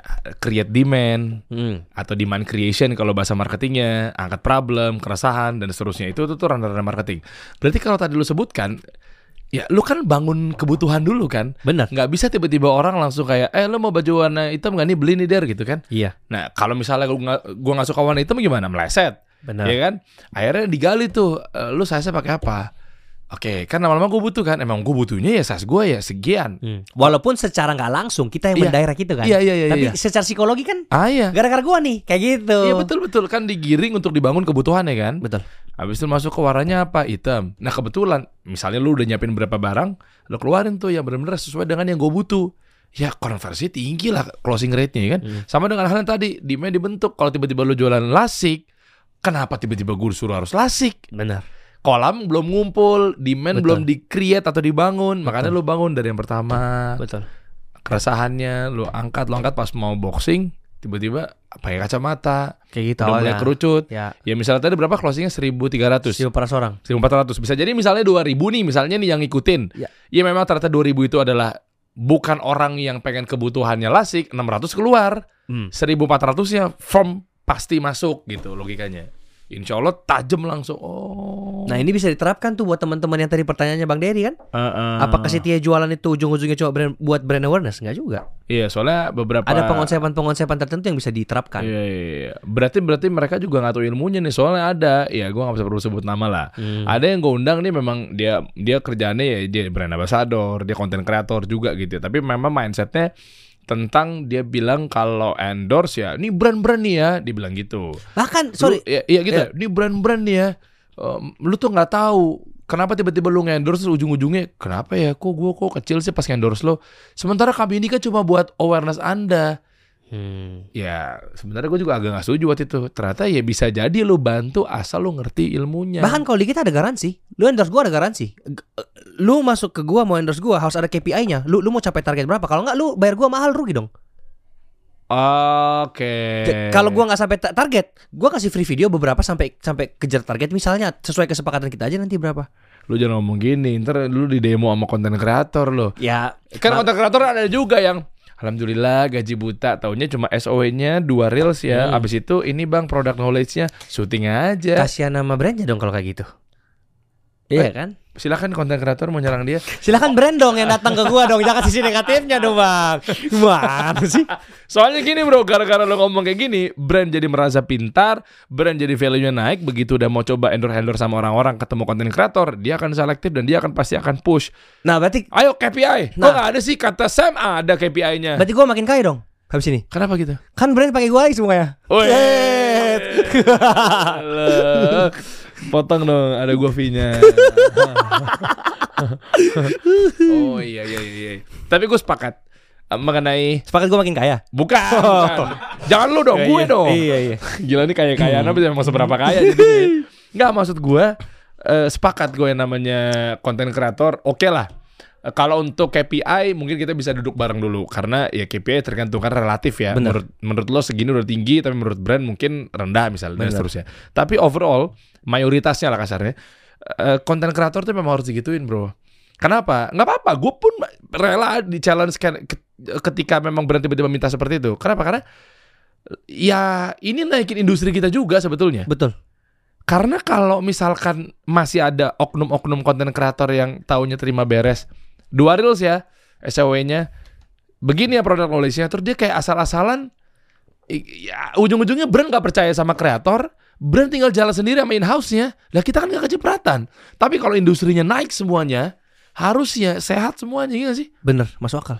Speaker 1: Nah, create demand
Speaker 2: Hmm.
Speaker 1: atau demand creation kalau bahasa marketingnya, angkat problem, keresahan dan seterusnya itu itu tuh ranah-ranah marketing. Berarti kalau tadi lu sebutkan, ya lu kan bangun kebutuhan dulu kan.
Speaker 2: benar
Speaker 1: Nggak bisa tiba-tiba orang langsung kayak, eh lu mau baju warna hitam nggak nih beli nih der gitu kan.
Speaker 2: iya
Speaker 1: Nah kalau misalnya gua nggak- gua nggak suka warna hitam gimana meleset.
Speaker 2: benar
Speaker 1: Iya kan? Akhirnya digali tuh, e, lu size pakai apa? Oke, kan lama-lama gue butuh kan. Emang gue butuhnya ya size gue ya sekian.
Speaker 2: Hmm. walaupun secara nggak langsung kita yang
Speaker 1: Iya.
Speaker 2: mendirect itu kan
Speaker 1: Iya, iya, iya.
Speaker 2: tapi
Speaker 1: iya.
Speaker 2: secara psikologi kan
Speaker 1: Ah iya.
Speaker 2: gara-gara gua nih kayak gitu
Speaker 1: Iya betul-betul kan digiring untuk dibangun kebutuhannya kan.
Speaker 2: betul
Speaker 1: Habis itu masuk ke warnanya apa? Hitam. Nah kebetulan, misalnya lu udah nyiapin berapa barang, lu keluarin tuh yang benar-benar sesuai dengan yang gue butuh. Ya konversi tinggi lah closing rate-nya ya kan.
Speaker 2: Hmm.
Speaker 1: Sama dengan hal yang tadi, demand dibentuk. Kalau tiba-tiba lu jualan lasik, kenapa tiba-tiba gue suruh harus lasik?
Speaker 2: benar
Speaker 1: kolam belum ngumpul, demand
Speaker 2: Betul.
Speaker 1: belum di-create atau dibangun. Makanya lu bangun dari yang pertama,
Speaker 2: betul
Speaker 1: keresahannya lu angkat, lu angkat pas mau boxing, tiba-tiba pakai kacamata,
Speaker 2: kayak gitu
Speaker 1: udah mulai
Speaker 2: awalnya
Speaker 1: kerucut.
Speaker 2: ya
Speaker 1: Ya misalnya tadi berapa closingnya 1300, 1400.
Speaker 2: siapa orang
Speaker 1: Bisa jadi misalnya 2000 nih, misalnya nih yang ngikutin.
Speaker 2: Ya.
Speaker 1: Ya memang ternyata 2000 itu adalah bukan orang yang pengen kebutuhannya lasik, 600 keluar, 1400-nya form pasti masuk gitu logikanya. Insya Allah tajem langsung. Oh.
Speaker 2: Nah ini bisa diterapkan tuh buat teman-teman yang tadi pertanyaannya Bang Dery kan? Apakah
Speaker 1: sih?
Speaker 2: setia jualan itu ujung-ujungnya cuma brand- buat brand awareness? Enggak juga.
Speaker 1: Iya, soalnya beberapa
Speaker 2: Ada pengonsepan-pengonsepan tertentu yang bisa diterapkan.
Speaker 1: Iya, iya, iya. Berarti berarti mereka juga nggak tahu ilmunya nih. Soalnya ada, ya gue nggak bisa perlu sebut nama lah.
Speaker 2: Hmm.
Speaker 1: Ada yang gue undang nih memang dia dia kerjaannya ya dia brand ambassador, dia konten kreator juga gitu. ya. Tapi memang mindsetnya tentang dia bilang kalau endorse ya, ini brand-brand nih ya, dibilang gitu. Lu-
Speaker 2: Bahkan sorry,
Speaker 1: ya, iya gitu. ya, Ini brand-brand nih ya. Em, lu tuh nggak tahu kenapa tiba-tiba lu endorse ujung-ujungnya kenapa ya kok gue kok kecil sih pas endorse lo sementara kami ini kan cuma buat awareness anda Ya sebenarnya gue juga agak gak setuju waktu itu Ternyata ya bisa jadi lu bantu asal lu ngerti ilmunya
Speaker 2: Ya. bahkan kalau di kita ada garansi. Lu endorse gua ada garansi. G- eh, Lu masuk ke gua mau endorse gua harus ada KPI-nya. Lu lu mau capai target berapa? Kalau enggak lu bayar gua mahal rugi dong.
Speaker 1: Oke
Speaker 2: J- Kalau gua nggak sampai ta- target, gua kasih free video beberapa sampai sampai kejar target misalnya sesuai kesepakatan kita aja nanti berapa.
Speaker 1: Lu jangan ngomong gini Ntar lu di demo sama konten kreator lo
Speaker 2: Ya,
Speaker 1: Kan konten kreator ada juga yang Alhamdulillah gaji buta Taunya cuma SOW-nya dua reels ya
Speaker 2: Hmm.
Speaker 1: Abis itu ini bang product knowledge-nya Syuting aja
Speaker 2: kasihan nama brandnya dong kalau kayak gitu. Ya Iya kan?
Speaker 1: Silakan konten kreator mau nyerang dia.
Speaker 2: Silahkan brand dong yang datang ke gua dong. Jangan sisi negatifnya dong, Bang. Gimana sih?
Speaker 1: Soalnya gini bro, gara-gara lo ngomong kayak gini, brand jadi merasa pintar, brand jadi value-nya naik, begitu udah mau coba endorse-endorse sama orang-orang, ketemu konten kreator, dia akan selektif dan dia akan pasti akan push.
Speaker 2: Nah, berarti
Speaker 1: Ayo KPI. Kok
Speaker 2: Nah.
Speaker 1: nggak ada sih kata Sam ada KPI-nya?
Speaker 2: berarti gua makin kaya dong habis ini.
Speaker 1: Kenapa gitu?
Speaker 2: Kan brand pakai gua lagi semuanya.
Speaker 1: Wih.
Speaker 2: Yes.
Speaker 1: Alah. Potong dong, ada gua fee-nya. oh iya iya iya. Tapi gue sepakat eh, mengenai
Speaker 2: Sepakat gua makin kaya.
Speaker 1: bukan, bukan. jangan lu dong, gue
Speaker 2: Oh. Iya,
Speaker 1: dong.
Speaker 2: Iya, iya.
Speaker 1: Gila nih kaya kayaan apa sih? emang seberapa kaya jadinya ya. Nggak maksud gue eh, sepakat gue yang namanya konten kreator oke lah. Eh, Kalau untuk KPI mungkin kita bisa duduk bareng dulu karena ya KPI tergantung kan relatif ya.
Speaker 2: Bener.
Speaker 1: Menurut menurut lo segini udah tinggi tapi menurut brand mungkin rendah misalnya dan
Speaker 2: Bener.
Speaker 1: seterusnya. Tapi overall mayoritasnya lah kasarnya eh, konten kreator tuh memang harus digituin bro. Kenapa? Nggak apa-apa. Gue pun rela di challenge kan- ke- ketika memang brand tiba-tiba minta seperti itu. Kenapa? Karena ya ini naikin industri kita juga sebetulnya.
Speaker 2: Betul.
Speaker 1: Karena kalau misalkan masih ada oknum-oknum konten kreator yang taunya terima beres dua reels ya SOW-nya begini ya produk knowledge-nya terus dia kayak asal-asalan i- ya ujung-ujungnya brand nggak percaya sama kreator brand tinggal jalan sendiri sama in-house-nya lah kita kan nggak kecipratan tapi kalau industrinya naik semuanya harusnya sehat semuanya gitu sih
Speaker 2: Bener, masuk akal.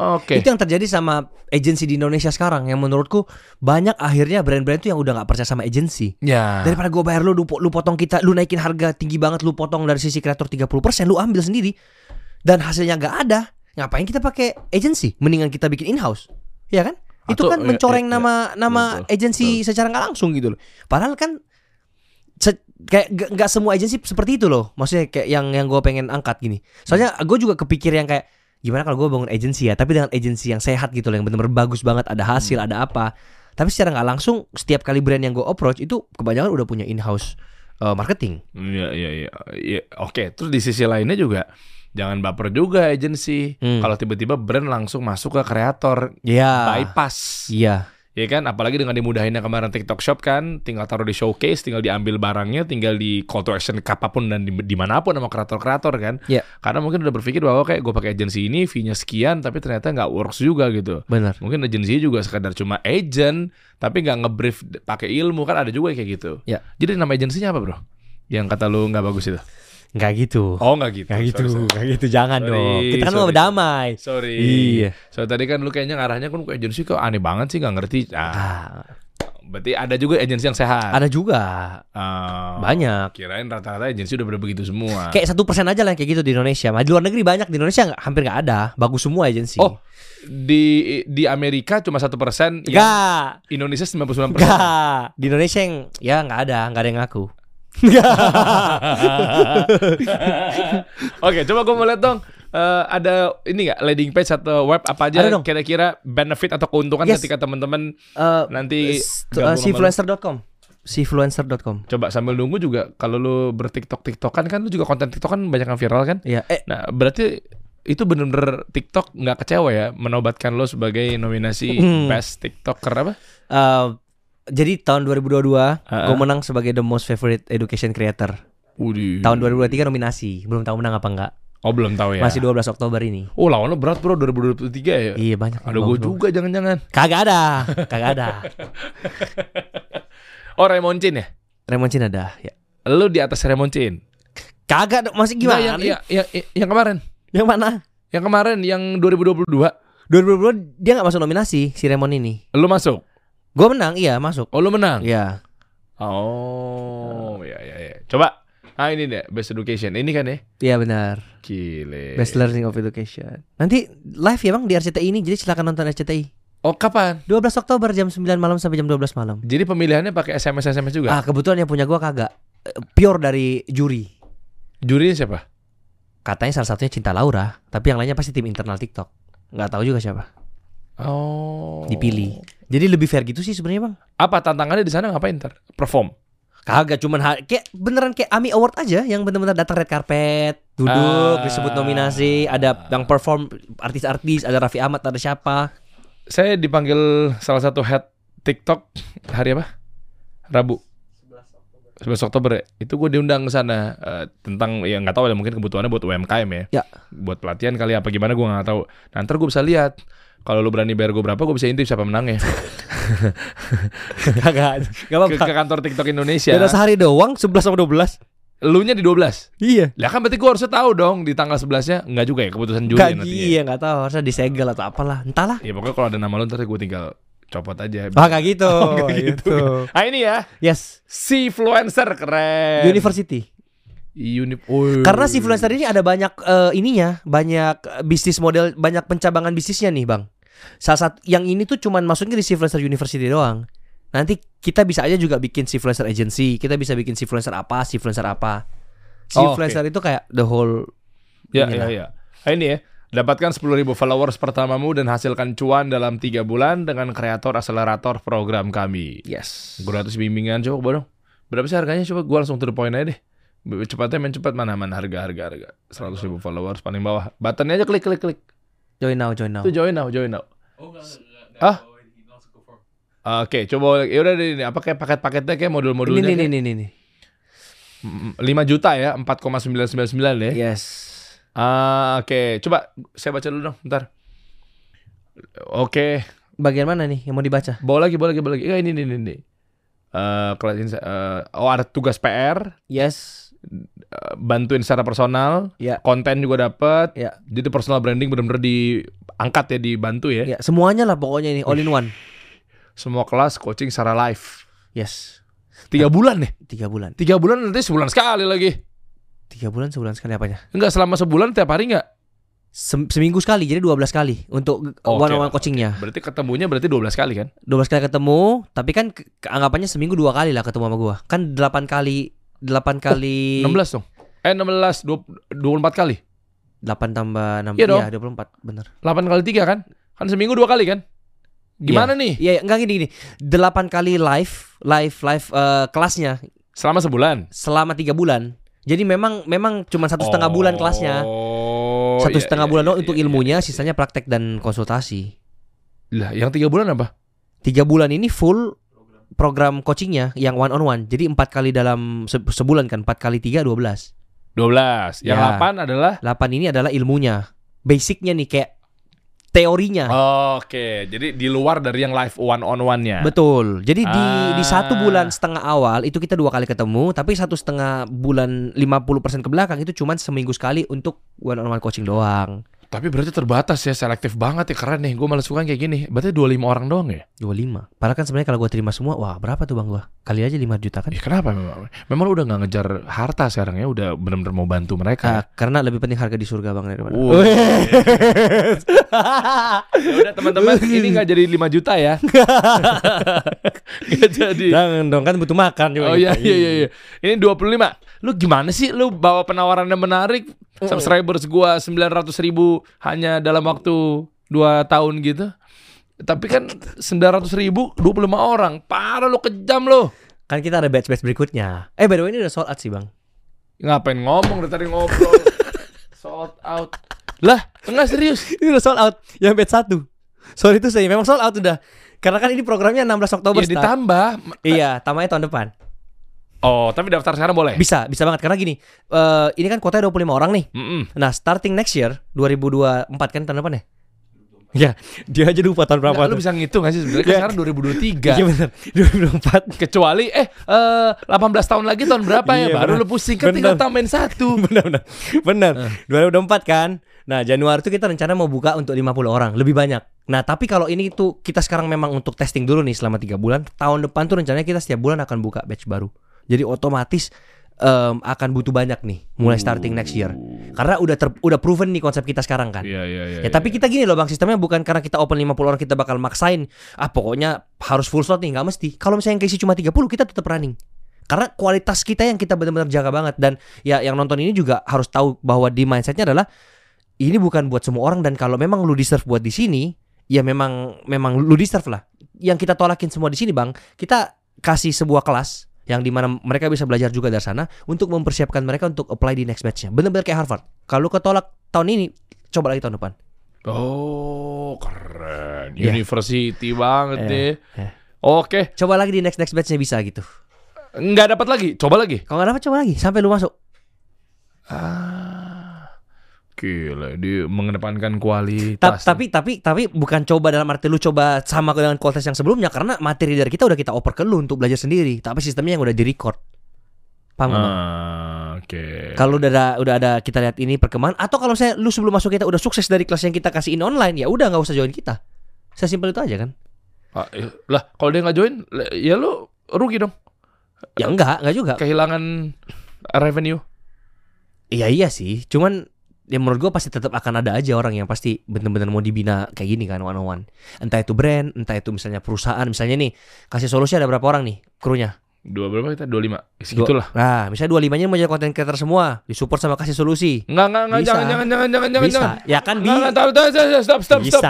Speaker 1: oke
Speaker 2: Itu yang terjadi sama agensi di Indonesia sekarang yang menurutku banyak akhirnya brand-brand itu yang udah nggak percaya sama agensi.
Speaker 1: ya
Speaker 2: Daripada gue bayar lu, lu, po- lu potong kita, lu naikin harga tinggi banget, lu potong dari sisi kreator 30%, lu ambil sendiri. Dan hasilnya nggak ada, ngapain kita pakai agensi? Mendingan kita bikin in-house. Ya kan? Itu
Speaker 1: Atau-
Speaker 2: kan
Speaker 1: iya,
Speaker 2: mencoreng
Speaker 1: iya,
Speaker 2: nama nama
Speaker 1: Betul,
Speaker 2: agensi secara nggak langsung gitu loh. Padahal kan se- kayak nggak- nggak semua agensi seperti itu loh. Maksudnya kayak yang yang gue pengen angkat gini. Soalnya gue juga kepikir yang kayak gimana kalau gue bangun agensi ya, tapi dengan agensi yang sehat gitu loh, yang benar-benar bagus banget, ada hasil,
Speaker 1: Hmm.
Speaker 2: ada apa. Tapi secara nggak langsung setiap kali brand yang gue approach itu kebanyakan udah punya in-house uh, marketing.
Speaker 1: Iya iya iya. Iya, Oke, terus di sisi lainnya juga jangan baper juga agensi.
Speaker 2: Hmm.
Speaker 1: Kalau tiba-tiba brand langsung masuk ke kreator
Speaker 2: Iya.
Speaker 1: bypass.
Speaker 2: Iya.
Speaker 1: Ya kan, apalagi dengan dimudahinnya kemarin TikTok Shop kan, tinggal taruh di showcase, tinggal diambil barangnya, tinggal di call to action kapanpun dan di, dimanapun sama kreator-kreator kan.
Speaker 2: Iya.
Speaker 1: Karena mungkin udah berpikir bahwa kayak gue pakai agensi ini, fee-nya sekian, tapi ternyata nggak works juga gitu.
Speaker 2: Benar.
Speaker 1: Mungkin agensinya juga sekadar cuma agent, tapi nggak ngebrief d- pakai ilmu kan ada juga yang kayak gitu.
Speaker 2: Iya.
Speaker 1: Jadi nama agensinya apa bro? Yang kata lu nggak bagus itu?
Speaker 2: Nggak gitu.
Speaker 1: Oh nggak gitu.
Speaker 2: Nggak gitu.
Speaker 1: Sorry, sorry.
Speaker 2: Nggak gitu. Jangan
Speaker 1: Sorry,
Speaker 2: dong. Kita kan mau
Speaker 1: sorry,
Speaker 2: berdamai.
Speaker 1: Sorry.
Speaker 2: Iya.
Speaker 1: So tadi kan lu kayaknya ngarahnya kan ke agensi kok aneh banget sih nggak ngerti. Ah,
Speaker 2: Ah,
Speaker 1: berarti ada juga agensi yang sehat.
Speaker 2: ada juga
Speaker 1: Ah,
Speaker 2: banyak.
Speaker 1: Kirain rata-rata agensi udah begitu semua.
Speaker 2: Kayak satu persen aja lah yang kayak gitu di Indonesia. Di luar negeri banyak di Indonesia nggak- hampir nggak ada. Bagus semua agensi.
Speaker 1: Oh, iya. di di Amerika cuma satu persen,
Speaker 2: Nggak.
Speaker 1: Indonesia 99 persen.
Speaker 2: Nggak. Di Indonesia yang ya nggak ada, nggak ada yang ngaku.
Speaker 1: Oke, coba gue mau lihat dong. eh, ada ini nggak landing page atau web apa aja
Speaker 2: Ada dong.
Speaker 1: kira-kira benefit atau keuntungan
Speaker 2: Yes.
Speaker 1: ketika teman-teman
Speaker 2: Eh,
Speaker 1: nanti
Speaker 2: s-
Speaker 1: gabung sama
Speaker 2: eh,
Speaker 1: lu?
Speaker 2: Sifluencer.com. Sifluencer.com.
Speaker 1: coba sambil nunggu juga kalau lu bertiktok tiktokan kan lu juga konten tiktokan banyak yang viral kan
Speaker 2: Iya. Eh,
Speaker 1: nah berarti itu bener-bener tiktok nggak kecewa ya menobatkan lo sebagai nominasi
Speaker 2: Hmm.
Speaker 1: best tiktoker apa
Speaker 2: eh, jadi tahun 2022
Speaker 1: Ha-ha.
Speaker 2: gue menang sebagai the most favorite education creator.
Speaker 1: Udih.
Speaker 2: Tahun 2023 nominasi, belum tahu menang apa enggak.
Speaker 1: oh belum tahu Hmm. ya
Speaker 2: Masih 12 Oktober ini.
Speaker 1: oh lawan lo berat bro 2023 ya
Speaker 2: Iya banyak.
Speaker 1: ada gue
Speaker 2: Bagus,
Speaker 1: juga jangan-jangan
Speaker 2: bagus. Kagak ada, kagak ada.
Speaker 1: oh Raymond Chin ya
Speaker 2: Raymond Chin ada. Ya.
Speaker 1: lo di atas Raymond Chin
Speaker 2: Kagak dong, masih
Speaker 1: Nah,
Speaker 2: gimana?
Speaker 1: yang, yang, yang, yang kemarin
Speaker 2: Yang mana?
Speaker 1: yang kemarin yang 2022
Speaker 2: 2022 dia nggak masuk nominasi si Raymond ini.
Speaker 1: lo masuk
Speaker 2: Gue menang, iya masuk.
Speaker 1: oh lo menang
Speaker 2: Iya.
Speaker 1: oh ya ya ya coba ah ini deh best education ini kan ya
Speaker 2: Iya benar.
Speaker 1: Gile.
Speaker 2: Best Learning of Education. Nanti live ya Bang di RCTI ini, jadi silakan nonton RCTI.
Speaker 1: Oh kapan?
Speaker 2: 12 Oktober jam 9 malam sampai jam 12 malam.
Speaker 1: Jadi pemilihannya pakai SMS SMS juga.
Speaker 2: Ah, kebetulan yang punya gua kagak Eh, pure dari juri.
Speaker 1: Jurinya siapa?
Speaker 2: Katanya salah satunya Cinta Laura, tapi yang lainnya pasti tim internal TikTok. Nggak tahu juga siapa.
Speaker 1: Oh.
Speaker 2: Dipilih. Jadi lebih fair gitu sih sebenarnya, Bang.
Speaker 1: Apa tantangannya di sana ngapain ntar? Perform.
Speaker 2: Kagak cuman ha- kayak beneran kayak AMI Award aja yang bener-bener datang red carpet,
Speaker 1: Ah.
Speaker 2: duduk, disebut nominasi, ada yang perform artis-artis, ada Raffi Ahmad, ada siapa.
Speaker 1: Saya dipanggil salah satu head TikTok hari apa? Rabu. 11 Oktober ya, itu gue diundang ke sana eh, tentang ya nggak tahu ya mungkin kebutuhannya buat UMKM ya.
Speaker 2: Ya.
Speaker 1: Buat pelatihan kali ya, apa gimana gue nggak tahu. Nah, ntar gue bisa lihat kalau lu berani bayar gue berapa, gue bisa intip siapa menangnya.
Speaker 2: Kagak.
Speaker 1: Ke,
Speaker 2: Gak
Speaker 1: ke
Speaker 2: apa-apa.
Speaker 1: kantor TikTok Indonesia.
Speaker 2: Oh, Beda sehari doang 11 sama 12.
Speaker 1: Lu nya di 12.
Speaker 2: Iya.
Speaker 1: Lah kan berarti gue harusnya tahu dong di tanggal 11-nya. Enggak juga ya keputusan juri
Speaker 2: Gaji
Speaker 1: nantinya.
Speaker 2: iya nggak tahu harusnya disegel atau apalah entahlah
Speaker 1: Ya pokoknya kalau ada nama lu ntar gue tinggal copot aja.
Speaker 2: ah nggak gitu
Speaker 1: Oh, nggak gitu.
Speaker 2: gitu.
Speaker 1: Ah ini ya,
Speaker 2: yes
Speaker 1: si influencer
Speaker 2: Eh.
Speaker 1: keren.
Speaker 2: university
Speaker 1: Unip. Ui.
Speaker 2: karena si freelancer ini ada banyak eh, ininya banyak eh, bisnis model banyak pencabangan bisnisnya nih bang salah satu yang ini tuh cuman masuknya di si freelancer university doang nanti kita bisa aja juga bikin si freelancer agency kita bisa bikin si freelancer apa si freelancer apa si
Speaker 1: Oh, oke.
Speaker 2: freelancer itu kayak the whole
Speaker 1: Ya,
Speaker 2: Ini
Speaker 1: ya,
Speaker 2: lah.
Speaker 1: ya. Ah, Ini ya. Dapatkan 10.000 followers pertamamu dan hasilkan cuan dalam 3 bulan dengan kreator akselerator program kami.
Speaker 2: yes
Speaker 1: Gratis bimbingan coba gua dong. Berapa sih harganya coba gue langsung to the point aja deh. B- Cepatnya main cepat mana mana harga harga harga. 100.000 followers paling bawah. Buttonnya aja klik klik klik.
Speaker 2: join now join now
Speaker 1: Itu join now, join now. Ah? Oke, coba ya udah deh ini apa kayak paket-paketnya kayak
Speaker 2: ini
Speaker 1: modul-modulnya. kayak-
Speaker 2: nih nih nih nih nih.
Speaker 1: Mm, 5 juta ya, 4,999 ya.
Speaker 2: yes
Speaker 1: Ah, oke. Coba saya baca dulu dong, bentar. Oke.
Speaker 2: bagian mana nih yang mau dibaca
Speaker 1: Bawa lagi, bawa lagi, bawa lagi. Ya, ini, ini, ini. ini. Eh, kelas insa- eh, oh ada tugas PR,
Speaker 2: yes
Speaker 1: eh, bantuin secara personal,
Speaker 2: Ya.
Speaker 1: konten juga dapat.
Speaker 2: Ya.
Speaker 1: Jadi personal branding benar-benar diangkat ya, dibantu ya.
Speaker 2: Ya, semuanya lah pokoknya ini all in one.
Speaker 1: Semua kelas coaching secara live.
Speaker 2: Yes.
Speaker 1: Tiga bulan nih,
Speaker 2: Tiga bulan.
Speaker 1: tiga bulan nanti sebulan sekali lagi.
Speaker 2: Tiga bulan sebulan sekali apanya?
Speaker 1: Enggak selama sebulan tiap hari enggak?
Speaker 2: Sem- seminggu sekali jadi 12 kali untuk
Speaker 1: Oh, Oke.
Speaker 2: one on one coachingnya.
Speaker 1: Berarti ketemunya berarti 12 kali kan?
Speaker 2: 12 kali ketemu, tapi kan ke- ke- anggapannya seminggu dua kali lah ketemu sama gua. Kan 8 kali
Speaker 1: Oh,
Speaker 2: 8 kali
Speaker 1: 16 dong. Eh 16 20, 24 kali.
Speaker 2: 8 tambah 6
Speaker 1: Iya dong.
Speaker 2: 24 bener
Speaker 1: 8 kali 3 kan? Kan seminggu dua kali kan? Gimana nih?
Speaker 2: Iya, iya, enggak gini gini. 8 kali live, live live eh, kelasnya
Speaker 1: Selama sebulan.
Speaker 2: selama tiga bulan. Jadi memang memang cuma satu setengah bulan kelasnya.
Speaker 1: Oh,
Speaker 2: Satu
Speaker 1: iya,
Speaker 2: setengah
Speaker 1: iya,
Speaker 2: bulan
Speaker 1: iya,
Speaker 2: doang untuk
Speaker 1: iya,
Speaker 2: ilmunya,
Speaker 1: iya.
Speaker 2: sisanya praktek dan konsultasi.
Speaker 1: Lah, yang tiga bulan apa?
Speaker 2: tiga bulan ini full program coachingnya yang one on one jadi empat kali dalam se- sebulan kan empat kali tiga dua belas
Speaker 1: 12 Yang
Speaker 2: Ya.
Speaker 1: delapan adalah
Speaker 2: delapan ini adalah ilmunya basicnya nih kayak
Speaker 1: Oh,
Speaker 2: teorinya
Speaker 1: Oke, jadi di luar dari yang live one on one-nya.
Speaker 2: betul jadi di di
Speaker 1: iya.
Speaker 2: satu
Speaker 1: Ah.
Speaker 2: bulan setengah awal itu kita dua kali ketemu tapi satu setengah bulan 50% ke belakang itu cuman seminggu sekali untuk one on one coaching doang
Speaker 1: Tapi berarti terbatas ya, selektif banget ya, keren nih. Gue malah suka yang kayak gini. Berarti 25 orang doang ya?
Speaker 2: 25 Padahal kan sebenarnya kalau gua terima semua Wah berapa tuh bang gua Kali aja 5 juta kan
Speaker 1: Eh, kenapa memang? Memang lu udah nggak ngejar harta sekarang ya, udah bener-bener mau bantu mereka.
Speaker 2: Ah, Karena lebih penting harga di surga bang daripada
Speaker 1: Wuh. Ya udah teman-teman, ini nggak jadi 5 juta ya. Nggak jadi.
Speaker 2: Jangan dong kan butuh makan juga
Speaker 1: Oh
Speaker 2: kita.
Speaker 1: iya iya iya iya. Ini 25. Lu gimana sih lu bawa penawaran yang menarik subscribers gua 900 ribu hanya dalam waktu 2 tahun gitu. Tapi kan 900 ribu 25 orang. Parah lu kejam lu.
Speaker 2: Kan kita ada batch-batch berikutnya. Eh by the way ini udah sold out sih bang.
Speaker 1: Ngapain ngomong dari tadi ngobrol. Sold out. Lah, enggak serius.
Speaker 2: Ini udah sold out. Yang batch satu. Sorry itu saya memang sold out udah. Karena kan ini programnya 16 Oktober.
Speaker 1: Ya
Speaker 2: Star.
Speaker 1: ditambah.
Speaker 2: Iya, tambahnya tahun depan.
Speaker 1: Oh, tapi daftar sekarang boleh.
Speaker 2: Bisa, bisa banget. Karena gini, eh ini kan kuotanya 25 orang nih.
Speaker 1: Mm-mm.
Speaker 2: Nah, starting next year 2024 kan tahun depan ya? Ya, dia aja lupa tahun
Speaker 1: Nggak, lu
Speaker 2: berapa. tuh.
Speaker 1: bisa ngitung gak sih sebenarnya kan
Speaker 2: Ya.
Speaker 1: sekarang 2023.
Speaker 2: Iya bener 2024
Speaker 1: kecuali eh eh, 18 tahun lagi tahun berapa ya
Speaker 2: Iya,
Speaker 1: baru
Speaker 2: benar.
Speaker 1: lu pusing kan tinggal
Speaker 2: Benar.
Speaker 1: tambahin satu
Speaker 2: Bener bener Bener 2024 kan Nah Januari itu kita rencana mau buka untuk 50 orang Lebih banyak Nah tapi kalau ini tuh Kita sekarang memang untuk testing dulu nih Selama 3 bulan Tahun depan tuh rencananya kita setiap bulan akan buka batch baru Jadi otomatis em, Akan butuh banyak nih Mulai starting next year Karena udah ter- udah proven nih konsep kita sekarang kan
Speaker 1: Iya iya iya.
Speaker 2: Ya tapi kita gini loh bang sistemnya bukan karena kita open 50 orang kita bakal maksain Ah pokoknya harus full slot nih nggak mesti Kalau misalnya yang keisi cuma 30 kita tetap running Karena kualitas kita yang kita benar-benar jaga banget Dan ya yang nonton ini juga harus tahu bahwa di mindsetnya adalah Ini bukan buat semua orang dan kalau memang lu deserve buat di sini Ya memang memang lu deserve lah Yang kita tolakin semua di sini bang Kita kasih sebuah kelas yang dimana mereka bisa belajar juga dari sana untuk mempersiapkan mereka untuk apply di next batch-nya. Bener-bener kayak Harvard. Kalau lu ketolak tahun ini, coba lagi tahun depan.
Speaker 1: iya. Oh keren.
Speaker 2: Iya.
Speaker 1: University banget
Speaker 2: Iya,
Speaker 1: deh.
Speaker 2: iya.
Speaker 1: Oke.
Speaker 2: Coba lagi di next next batchnya bisa gitu.
Speaker 1: nggak dapat lagi coba lagi
Speaker 2: Kalau nggak dapat coba lagi sampai lu masuk.
Speaker 1: ah gila dia mengedepankan
Speaker 2: Ta-
Speaker 1: kualitas
Speaker 2: tapi tapi tapi bukan coba dalam arti lu coba sama dengan kualitas yang sebelumnya karena materi dari kita udah kita oper ke lu untuk belajar sendiri, tapi sistemnya yang udah direcord. Paham nggak? Bang?
Speaker 1: Ah, oke
Speaker 2: Kalau udah ada udah ada kita lihat ini perkembangan atau kalau saya lu sebelum masuk kita udah sukses dari kelas yang kita kasihin online, ya udah nggak usah join kita. Sesimpel itu aja kan?
Speaker 1: Ah, eh, lah kalau dia nggak join le- ya lu rugi dong Eh,
Speaker 2: Ya enggak, enggak juga.
Speaker 1: kehilangan revenue
Speaker 2: Iya iya sih, cuman ya menurut gua pasti tetap akan ada aja orang yang pasti bener-bener mau dibina kayak gini kan one on one. Entah itu brand, entah itu misalnya perusahaan, misalnya nih kasih solusi ada berapa orang nih krunya?
Speaker 1: dua berapa kita dua lima Ya, segitulah
Speaker 2: Nah, misalnya dua limanya mau jadi content creator semua, disupport sama kasih solusi.
Speaker 1: nggak nggak nggak
Speaker 2: Bisa.
Speaker 1: jangan jangan jangan jangan jangan
Speaker 2: Bisa,
Speaker 1: jangan
Speaker 2: ya kan
Speaker 1: nggak
Speaker 2: bisa.
Speaker 1: nggak, tahu tahu tahu, stop stop stop
Speaker 2: Bisa.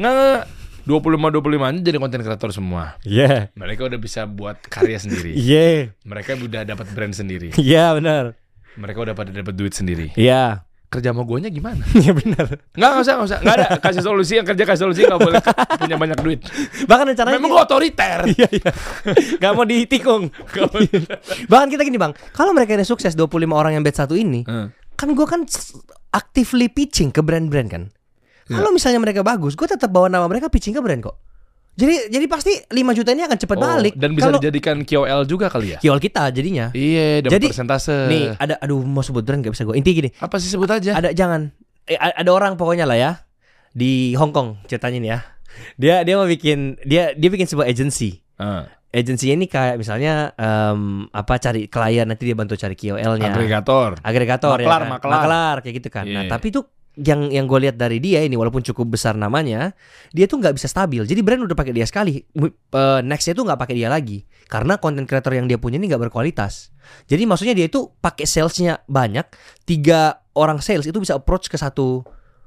Speaker 1: nggak nggak dua puluh lima dua puluh lima jadi konten kreator semua
Speaker 2: Iya.
Speaker 1: mereka udah bisa buat karya sendiri
Speaker 2: Iya.
Speaker 1: mereka udah dapat brand sendiri
Speaker 2: Iya benar.
Speaker 1: mereka udah pada dapat duit sendiri
Speaker 2: Iya.
Speaker 1: kerja sama guanya gimana
Speaker 2: Iya benar.
Speaker 1: nggak nggak usah nggak usah nggak ada kasih solusi yang kerja kasih solusi nggak boleh punya banyak duit
Speaker 2: Bahkan rencananya
Speaker 1: memang gua otoriter
Speaker 2: Iya iya. Gak mau ditikung. Bahkan kita gini bang, kalau mereka ini sukses 25 orang yang batch satu ini,
Speaker 1: Hmm.
Speaker 2: kan gue kan s- actively pitching ke brand-brand kan.
Speaker 1: Iya.
Speaker 2: Kalau misalnya mereka bagus, gue tetap bawa nama mereka pitching ke brand kok. Jadi jadi pasti 5 juta ini akan cepat
Speaker 1: Oh,
Speaker 2: balik.
Speaker 1: dan bisa
Speaker 2: kalau
Speaker 1: dijadikan KOL juga kali ya
Speaker 2: kiol kita jadinya.
Speaker 1: iya dapat
Speaker 2: Jadi,
Speaker 1: persentase
Speaker 2: Nih ada, aduh mau sebut brand gak bisa gue. Inti gini,
Speaker 1: apa sih sebut aja
Speaker 2: ada jangan, eh, a- ada orang pokoknya lah ya di Hong Kong ceritanya nih ya. Dia dia mau bikin dia dia bikin sebuah agency.
Speaker 1: Ah,
Speaker 2: agensinya ini kayak misalnya em, apa cari klien nanti dia bantu cari KOL-nya
Speaker 1: agregator
Speaker 2: agregator
Speaker 1: Maklar,
Speaker 2: ya kan?
Speaker 1: maklar.
Speaker 2: kayak gitu kan nah
Speaker 1: Iya.
Speaker 2: tapi tuh yang yang gue lihat dari dia ini walaupun cukup besar namanya dia tuh nggak bisa stabil jadi brand udah pakai dia sekali Mu- eh, nextnya tuh nggak pakai dia lagi karena konten creator yang dia punya ini nggak berkualitas jadi maksudnya dia itu pakai salesnya banyak tiga orang sales itu bisa approach ke satu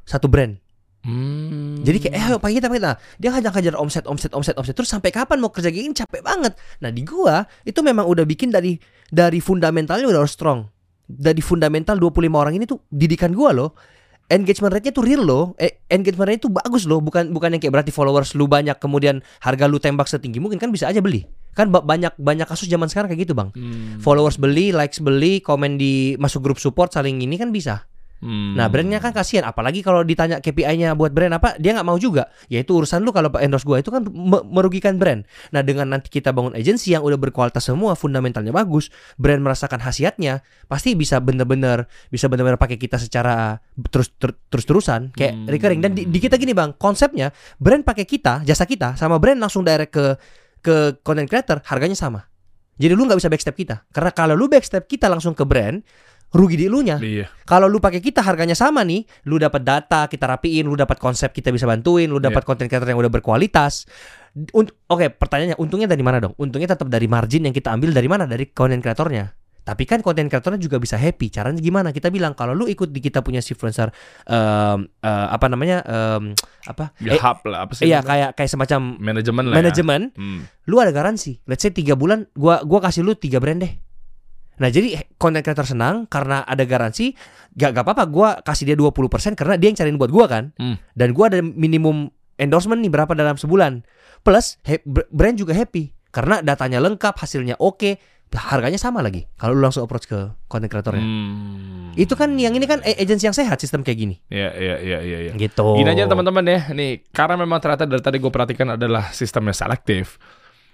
Speaker 2: satu brand
Speaker 1: Hmm.
Speaker 2: jadi kayak eh ayo pakai kita pakai kita. Dia hajar-hajar omset omset omset omset terus sampai kapan mau kerja kayak gini capek banget. Nah, di gua itu memang udah bikin dari dari fundamentalnya udah harus strong. Dari fundamental 25 orang ini tuh didikan gua loh. Engagement rate-nya tuh real loh. Eh, engagement rate tuh bagus loh, bukan bukan yang kayak berarti followers lu banyak kemudian harga lu tembak setinggi mungkin kan bisa aja beli. Kan ba- banyak banyak kasus zaman sekarang kayak gitu, Bang.
Speaker 1: Hmm.
Speaker 2: Followers beli, likes beli, komen di masuk grup support saling ini kan bisa.
Speaker 1: Hmm.
Speaker 2: Nah brandnya kan kasihan apalagi kalau ditanya KPI-nya buat brand apa dia nggak mau juga ya itu urusan lu kalau endorse gua itu kan me- merugikan brand nah dengan nanti kita bangun agensi yang udah berkualitas semua fundamentalnya bagus brand merasakan khasiatnya pasti bisa bener-bener bisa bener-bener pakai kita secara terus ter- terus terusan kayak
Speaker 1: Hmm.
Speaker 2: recurring dan di, di kita gini bang konsepnya brand pakai kita jasa kita sama brand langsung direct ke ke content creator harganya sama jadi lu nggak bisa backstep kita karena kalau lu backstep kita langsung ke brand rugi di lu nya
Speaker 1: Iya.
Speaker 2: kalau lu pakai kita harganya sama nih, lu dapat data, kita rapiin, lu dapat konsep, kita bisa bantuin, lu
Speaker 1: Iya.
Speaker 2: dapat konten creator yang udah berkualitas. Unt- Oke, pertanyaannya untungnya dari mana dong? Untungnya tetap dari margin yang kita ambil dari mana? Dari konten kreatornya. Tapi kan konten kreatornya juga bisa happy. Caranya gimana? Kita bilang kalau lu ikut di kita punya si influencer em, eh, apa namanya? em, apa?
Speaker 1: Ya,
Speaker 2: Eh,
Speaker 1: hub lah apa sih?
Speaker 2: iya,
Speaker 1: namanya?
Speaker 2: kayak kayak semacam
Speaker 1: manajemen lah. ya.
Speaker 2: manajemen
Speaker 1: Hmm.
Speaker 2: lu ada garansi. Let's say 3 bulan gua gua kasih lu 3 brand deh. Nah, jadi content creator senang karena ada garansi, gak, gak apa-apa gua kasih dia 20% karena dia yang cariin buat gua kan.
Speaker 1: Hmm.
Speaker 2: Dan gua ada minimum endorsement nih berapa dalam sebulan. Plus he- br- brand juga happy karena datanya lengkap, hasilnya oke, harganya sama lagi. Kalau lu langsung approach ke content creatornya.
Speaker 1: Hmm.
Speaker 2: Nah. Itu kan yang ini kan a- agency yang sehat sistem kayak gini.
Speaker 1: Iya, iya, iya, iya, iya.
Speaker 2: Gitu.
Speaker 1: Gini aja teman-teman ya, nih karena memang ternyata dari tadi gue perhatikan adalah sistemnya selektif.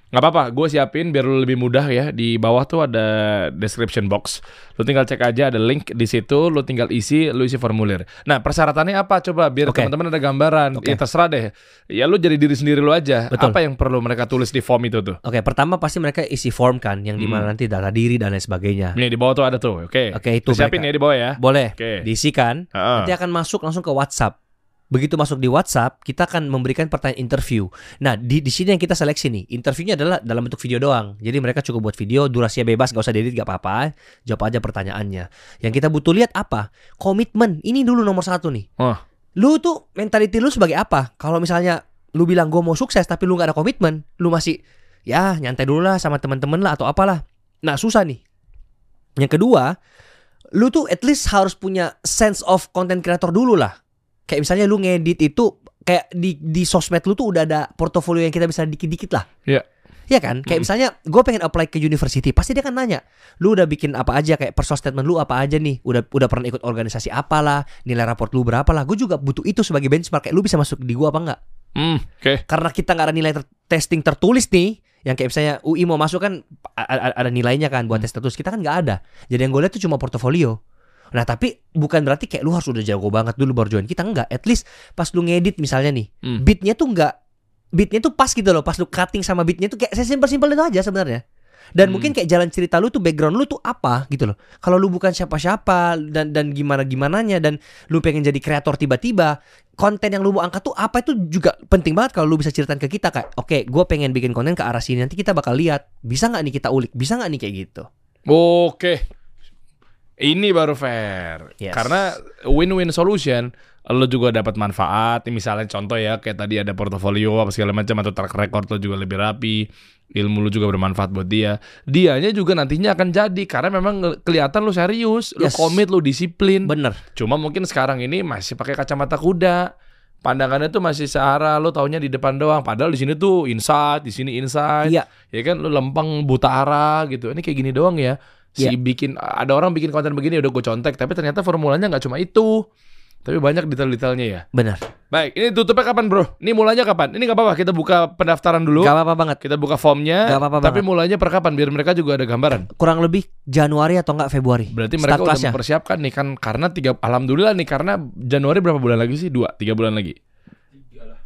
Speaker 1: Gak apa-apa, gue siapin biar lu lebih mudah ya. Di bawah tuh ada description box. Lu tinggal cek aja ada link di situ, lu tinggal isi, lu isi formulir. Nah, persyaratannya apa? Coba biar
Speaker 2: Oke.
Speaker 1: teman-teman ada gambaran.
Speaker 2: Oke.
Speaker 1: Ya terserah deh. Ya lu jadi diri sendiri lu aja.
Speaker 2: Betul.
Speaker 1: Apa yang perlu mereka tulis di form itu tuh?
Speaker 2: Oke, pertama pasti mereka isi form kan yang
Speaker 1: Hmm.
Speaker 2: dimana nanti data diri dan lain sebagainya.
Speaker 1: Nih di bawah tuh ada tuh, oke.
Speaker 2: Oke, itu
Speaker 1: Siapin ya
Speaker 2: mereka.
Speaker 1: di bawah ya.
Speaker 2: Boleh.
Speaker 1: Oke. Ah.
Speaker 2: Diisi kan?
Speaker 1: Heeh.
Speaker 2: nanti akan masuk langsung ke WhatsApp. Begitu masuk di WhatsApp, kita akan memberikan pertanyaan interview. Nah, di di sini yang kita seleksi nih. Interviewnya adalah dalam bentuk video doang. Jadi mereka cukup buat video, durasinya bebas, gak usah diedit, gak apa-apa. eh. Jawab aja pertanyaannya. Yang kita butuh lihat apa? Komitmen. Ini dulu nomor satu nih.
Speaker 1: Wah.
Speaker 2: Lu tuh mentality lu sebagai apa? Kalau misalnya lu bilang gue mau sukses tapi lu gak ada komitmen, lu masih ya nyantai dulu lah sama teman-teman lah atau apalah. Nah, susah nih. Yang kedua, lu tuh at least harus punya sense of content creator dulu lah. Kayak misalnya lu ngedit itu kayak di di sosmed lu tuh udah ada portofolio yang kita bisa dikit-dikit lah.
Speaker 1: Iya.
Speaker 2: Iya kan? Kayak misalnya gue pengen apply ke university, pasti dia kan nanya, lu udah bikin apa aja kayak personal statement lu apa aja nih? Udah udah pernah ikut organisasi apalah, nilai raport lu berapa lah. Gue juga butuh itu sebagai benchmark kayak lu bisa masuk di gua apa enggak?
Speaker 1: Hmm, oke.
Speaker 2: Karena kita nggak ada nilai ter- testing tertulis nih yang kayak misalnya UI mau masuk kan a- a- ada nilainya kan buat tes tertulis kita kan nggak ada jadi yang gue lihat tuh cuma portofolio nah tapi bukan berarti kayak lu harus udah jago banget dulu baru join kita nggak at least pas lu ngedit misalnya nih
Speaker 1: Hmm.
Speaker 2: beatnya tuh nggak beatnya tuh pas gitu loh pas lu cutting sama beatnya tuh kayak simpel simpel itu aja sebenarnya dan
Speaker 1: Hmm.
Speaker 2: mungkin kayak jalan cerita lu tuh background lu tuh apa gitu loh kalau lu bukan siapa-siapa dan dan gimana gimananya dan lu pengen jadi kreator tiba-tiba konten yang lu mau angkat tuh apa itu juga penting banget kalau lu bisa ceritain ke kita kayak oke gue pengen bikin konten ke arah sini nanti kita bakal lihat bisa nggak nih kita ulik bisa nggak nih kayak gitu
Speaker 1: Hmm. Oke. Ini baru fair.
Speaker 2: Yes.
Speaker 1: Karena win-win solution, lo juga dapat manfaat. Misalnya contoh ya, kayak tadi ada portofolio apa segala macam atau track record lo juga lebih rapi, ilmu lo juga bermanfaat buat dia. Dianya juga nantinya akan jadi karena memang ngel- kelihatan lo serius, lo
Speaker 2: Yes.
Speaker 1: komit, lo disiplin.
Speaker 2: bener
Speaker 1: Cuma mungkin sekarang ini masih pakai kacamata kuda. Pandangannya tuh masih searah, lo taunya di depan doang. Padahal di sini tuh insight, di sini insight
Speaker 2: iya
Speaker 1: ya kan lu lempeng buta arah gitu ini kayak gini doang ya si
Speaker 2: Iya.
Speaker 1: bikin ada orang bikin konten begini udah gue contek tapi ternyata formulanya nggak cuma itu tapi banyak detail-detailnya ya
Speaker 2: bener
Speaker 1: baik ini tutupnya kapan bro ini mulanya kapan ini nggak apa-apa kita buka pendaftaran dulu
Speaker 2: gak apa-apa banget
Speaker 1: kita buka formnya
Speaker 2: Nggak apa-apa
Speaker 1: Eh, tapi mulanya per kapan biar mereka juga ada gambaran
Speaker 2: kurang lebih Januari atau nggak Februari
Speaker 1: berarti mereka
Speaker 2: Start
Speaker 1: udah
Speaker 2: kelasnya.
Speaker 1: mempersiapkan nih kan karena tiga alhamdulillah nih karena Januari berapa bulan lagi sih dua tiga bulan lagi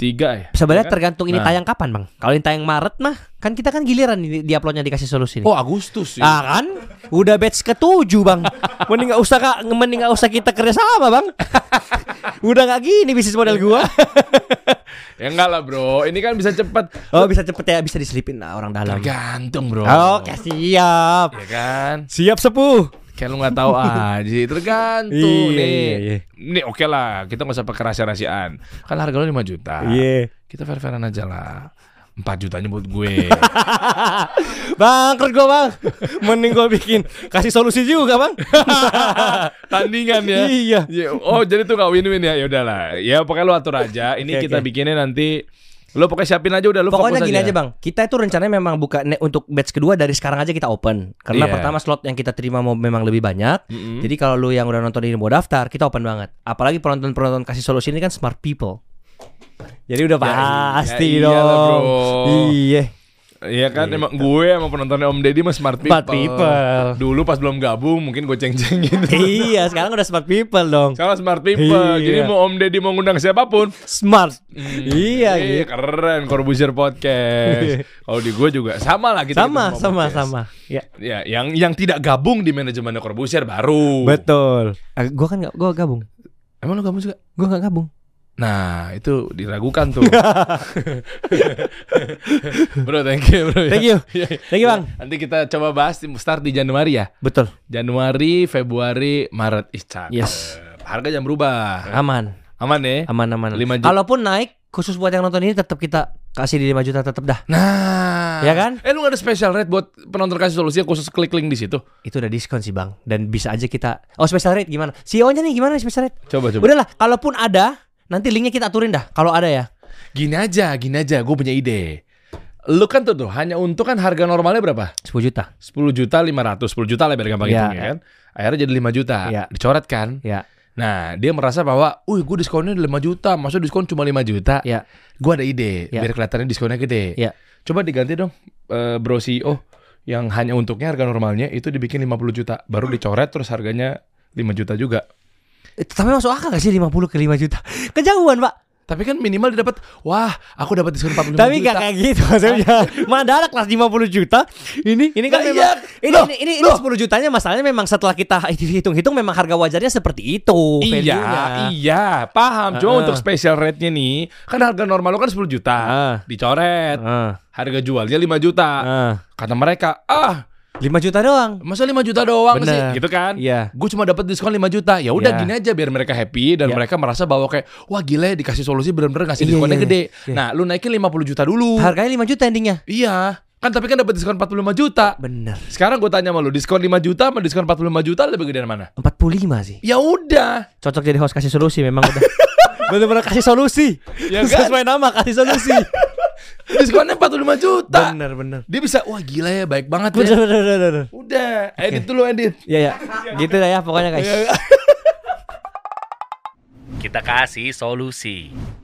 Speaker 1: tiga ya Ya
Speaker 2: Sebenarnya
Speaker 1: kan?
Speaker 2: tergantung ini
Speaker 1: Nah.
Speaker 2: tayang kapan, Bang. Kalau ini tayang Maret mah, kan kita kan giliran di, di uploadnya dikasih solusi nih.
Speaker 1: oh Agustus sih
Speaker 2: Ah kan? Udah batch ke-7, Bang. Mending gak usah Kak, mending gak usah kita kerja sama, Bang. Udah gak gini bisnis model gua.
Speaker 1: ya enggak lah bro ini kan bisa cepat
Speaker 2: Oh, bisa cepet ya, bisa diselipin lah orang dalam.
Speaker 1: tergantung bro
Speaker 2: Oke, siap.
Speaker 1: ya kan
Speaker 2: Siap sepuh.
Speaker 1: Kayak lu nggak tahu aja, tergantung
Speaker 2: Iya,
Speaker 1: nih.
Speaker 2: iya, iya.
Speaker 1: Nih oke lah, kita nggak usah pakai rahasia-rahasiaan. Kan harga lu 5 juta.
Speaker 2: Iya.
Speaker 1: Kita fair-fairan aja lah. 4 jutanya buat gue.
Speaker 2: Bangkrut gua, Bang. Mending gua bikin kasih solusi juga, Bang.
Speaker 1: Tandingan ya.
Speaker 2: Iya.
Speaker 1: Ya, Oh, jadi tuh nggak win-win ya. Ya udahlah. Ya pokoknya lu atur aja. Ini
Speaker 2: Oke,
Speaker 1: kita
Speaker 2: oke.
Speaker 1: bikinnya nanti lu pokoknya siapin aja udah lu
Speaker 2: Pokoknya
Speaker 1: fokus
Speaker 2: gini aja. bang, kita itu rencananya memang buka ne- untuk batch kedua dari sekarang aja kita open.
Speaker 1: Iya.
Speaker 2: Karena pertama slot yang kita terima mau memang lebih banyak.
Speaker 1: Mm-mm.
Speaker 2: Jadi kalau lu yang udah nonton ini mau daftar, kita open banget. Apalagi penonton-penonton kasih solusi ini kan smart people. Jadi udah
Speaker 1: Ya iya,
Speaker 2: pasti
Speaker 1: ya
Speaker 2: dong.
Speaker 1: iyalah, bro.
Speaker 2: Iya.
Speaker 1: Iya kan emang gue sama penontonnya Om Deddy mah smart people.
Speaker 2: Smart people.
Speaker 1: Dulu pas belum gabung mungkin gue ceng-cengin.
Speaker 2: iya, sekarang udah smart people dong.
Speaker 1: Sekarang smart people. Jadi
Speaker 2: Iya.
Speaker 1: mau Om Deddy mau ngundang siapapun,
Speaker 2: Smart. Iya,
Speaker 1: Mm. Iya,
Speaker 2: iya.
Speaker 1: keren Corbuzier podcast. Kalau di gue juga sama lah kita
Speaker 2: Sama,
Speaker 1: ketemu
Speaker 2: sama,
Speaker 1: podcast.
Speaker 2: sama. Ya.
Speaker 1: Ya, yang yang tidak gabung di manajemennya Corbuzier baru.
Speaker 2: Betul.
Speaker 1: Ah,
Speaker 2: Eh, gua kan gak, gua gabung.
Speaker 1: Emang lu gabung juga?
Speaker 2: Gua gak gabung.
Speaker 1: Nah, itu diragukan tuh. bro, thank you, bro. ya.
Speaker 2: Thank you.
Speaker 1: Iya, iya.
Speaker 2: Thank you, Bang.
Speaker 1: Nanti kita coba bahas di- start di Januari ya.
Speaker 2: Betul.
Speaker 1: Januari, Februari, Maret, Ih, cakep.
Speaker 2: Yes.
Speaker 1: Harga jangan berubah.
Speaker 2: Aman.
Speaker 1: Aman ya?
Speaker 2: aman aman.
Speaker 1: Lima juta.
Speaker 2: Kalaupun naik khusus buat yang nonton ini tetap kita kasih di 5 juta tetap dah.
Speaker 1: Nah.
Speaker 2: Ya kan?
Speaker 1: Eh, lu gak ada special rate buat penonton kasih solusi khusus klik link di situ?
Speaker 2: Itu udah diskon sih, Bang. Dan bisa aja kita Oh, special rate gimana? CEO-nya nih gimana nih special rate?
Speaker 1: Coba, coba.
Speaker 2: Udahlah, kalaupun ada, nanti linknya kita aturin dah kalau ada ya.
Speaker 1: Gini aja, gini aja, gue punya ide. Lu kan tuh, tuh hanya untuk kan harga normalnya berapa?
Speaker 2: 10 juta.
Speaker 1: 10 juta 500, 10 juta lah biar gampang
Speaker 2: Iya,
Speaker 1: hitungnya
Speaker 2: iya.
Speaker 1: kan. Akhirnya jadi 5 juta,
Speaker 2: Iya.
Speaker 1: dicoret kan.
Speaker 2: Ya.
Speaker 1: Nah, dia merasa bahwa, "Wih, gue diskonnya 5 juta, masa diskon cuma 5 juta?"
Speaker 2: Ya.
Speaker 1: Gue ada ide,
Speaker 2: Iya.
Speaker 1: biar kelihatannya diskonnya gede.
Speaker 2: Iya.
Speaker 1: Coba diganti dong eh, Bro CEO yang hanya untuknya harga normalnya itu dibikin 50 juta, baru dicoret terus harganya 5 juta juga.
Speaker 2: Eh, Tapi masuk akal gak sih 50 ke 5 juta? Kejauhan, Pak.
Speaker 1: Tapi kan minimal dia dapat, "Wah, aku dapat diskon 45
Speaker 2: Tapi
Speaker 1: juta."
Speaker 2: gak kayak gitu maksudnya. Mandala kelas 50 juta. Ini ini
Speaker 1: Nah,
Speaker 2: kan memang
Speaker 1: iya.
Speaker 2: ini,
Speaker 1: Loh,
Speaker 2: ini ini ini 10 jutanya masalahnya memang setelah kita hitung-hitung memang harga wajarnya seperti itu
Speaker 1: Iya,
Speaker 2: value-nya.
Speaker 1: iya, paham. Cuma
Speaker 2: Heeh.
Speaker 1: untuk special rate-nya nih, kan harga normal lo kan 10 juta.
Speaker 2: Heeh.
Speaker 1: Dicoret.
Speaker 2: Heeh.
Speaker 1: Harga jualnya 5 juta.
Speaker 2: Heeh.
Speaker 1: Kata mereka, "Ah,
Speaker 2: 5 juta doang.
Speaker 1: masa 5 juta doang sih?"
Speaker 2: Bener.
Speaker 1: Gitu kan?
Speaker 2: Iya.
Speaker 1: Gue cuma dapat diskon 5 juta. Ya udah
Speaker 2: Iya.
Speaker 1: gini aja biar mereka happy dan
Speaker 2: Iya.
Speaker 1: mereka merasa bahwa kayak, "Wah, gila ya dikasih solusi bener-bener ngasih
Speaker 2: Iya,
Speaker 1: diskonnya
Speaker 2: iya,
Speaker 1: gede."
Speaker 2: iya.
Speaker 1: Nah, lu naikin 50 juta dulu.
Speaker 2: Harganya 5 juta endingnya.
Speaker 1: iya. Kan tapi kan dapat diskon 45 juta.
Speaker 2: Bener.
Speaker 1: Sekarang gue tanya sama lu, diskon 5 juta sama diskon 45 juta lebih gedean mana?
Speaker 2: 45 sih.
Speaker 1: Ya udah.
Speaker 2: Cocok jadi host kasih solusi memang udah. Bener-bener kasih solusi.
Speaker 1: Ya kan?
Speaker 2: Sesuai nama kasih solusi.
Speaker 1: Diskonnya 45 juta.
Speaker 2: Bener bener.
Speaker 1: Dia bisa, wah gila ya, baik banget ya.
Speaker 2: Bener bener bener. bener.
Speaker 1: Udah, edit dulu edit.
Speaker 2: Ya ya. Gitu lah ya pokoknya guys.
Speaker 3: Kita kasih solusi.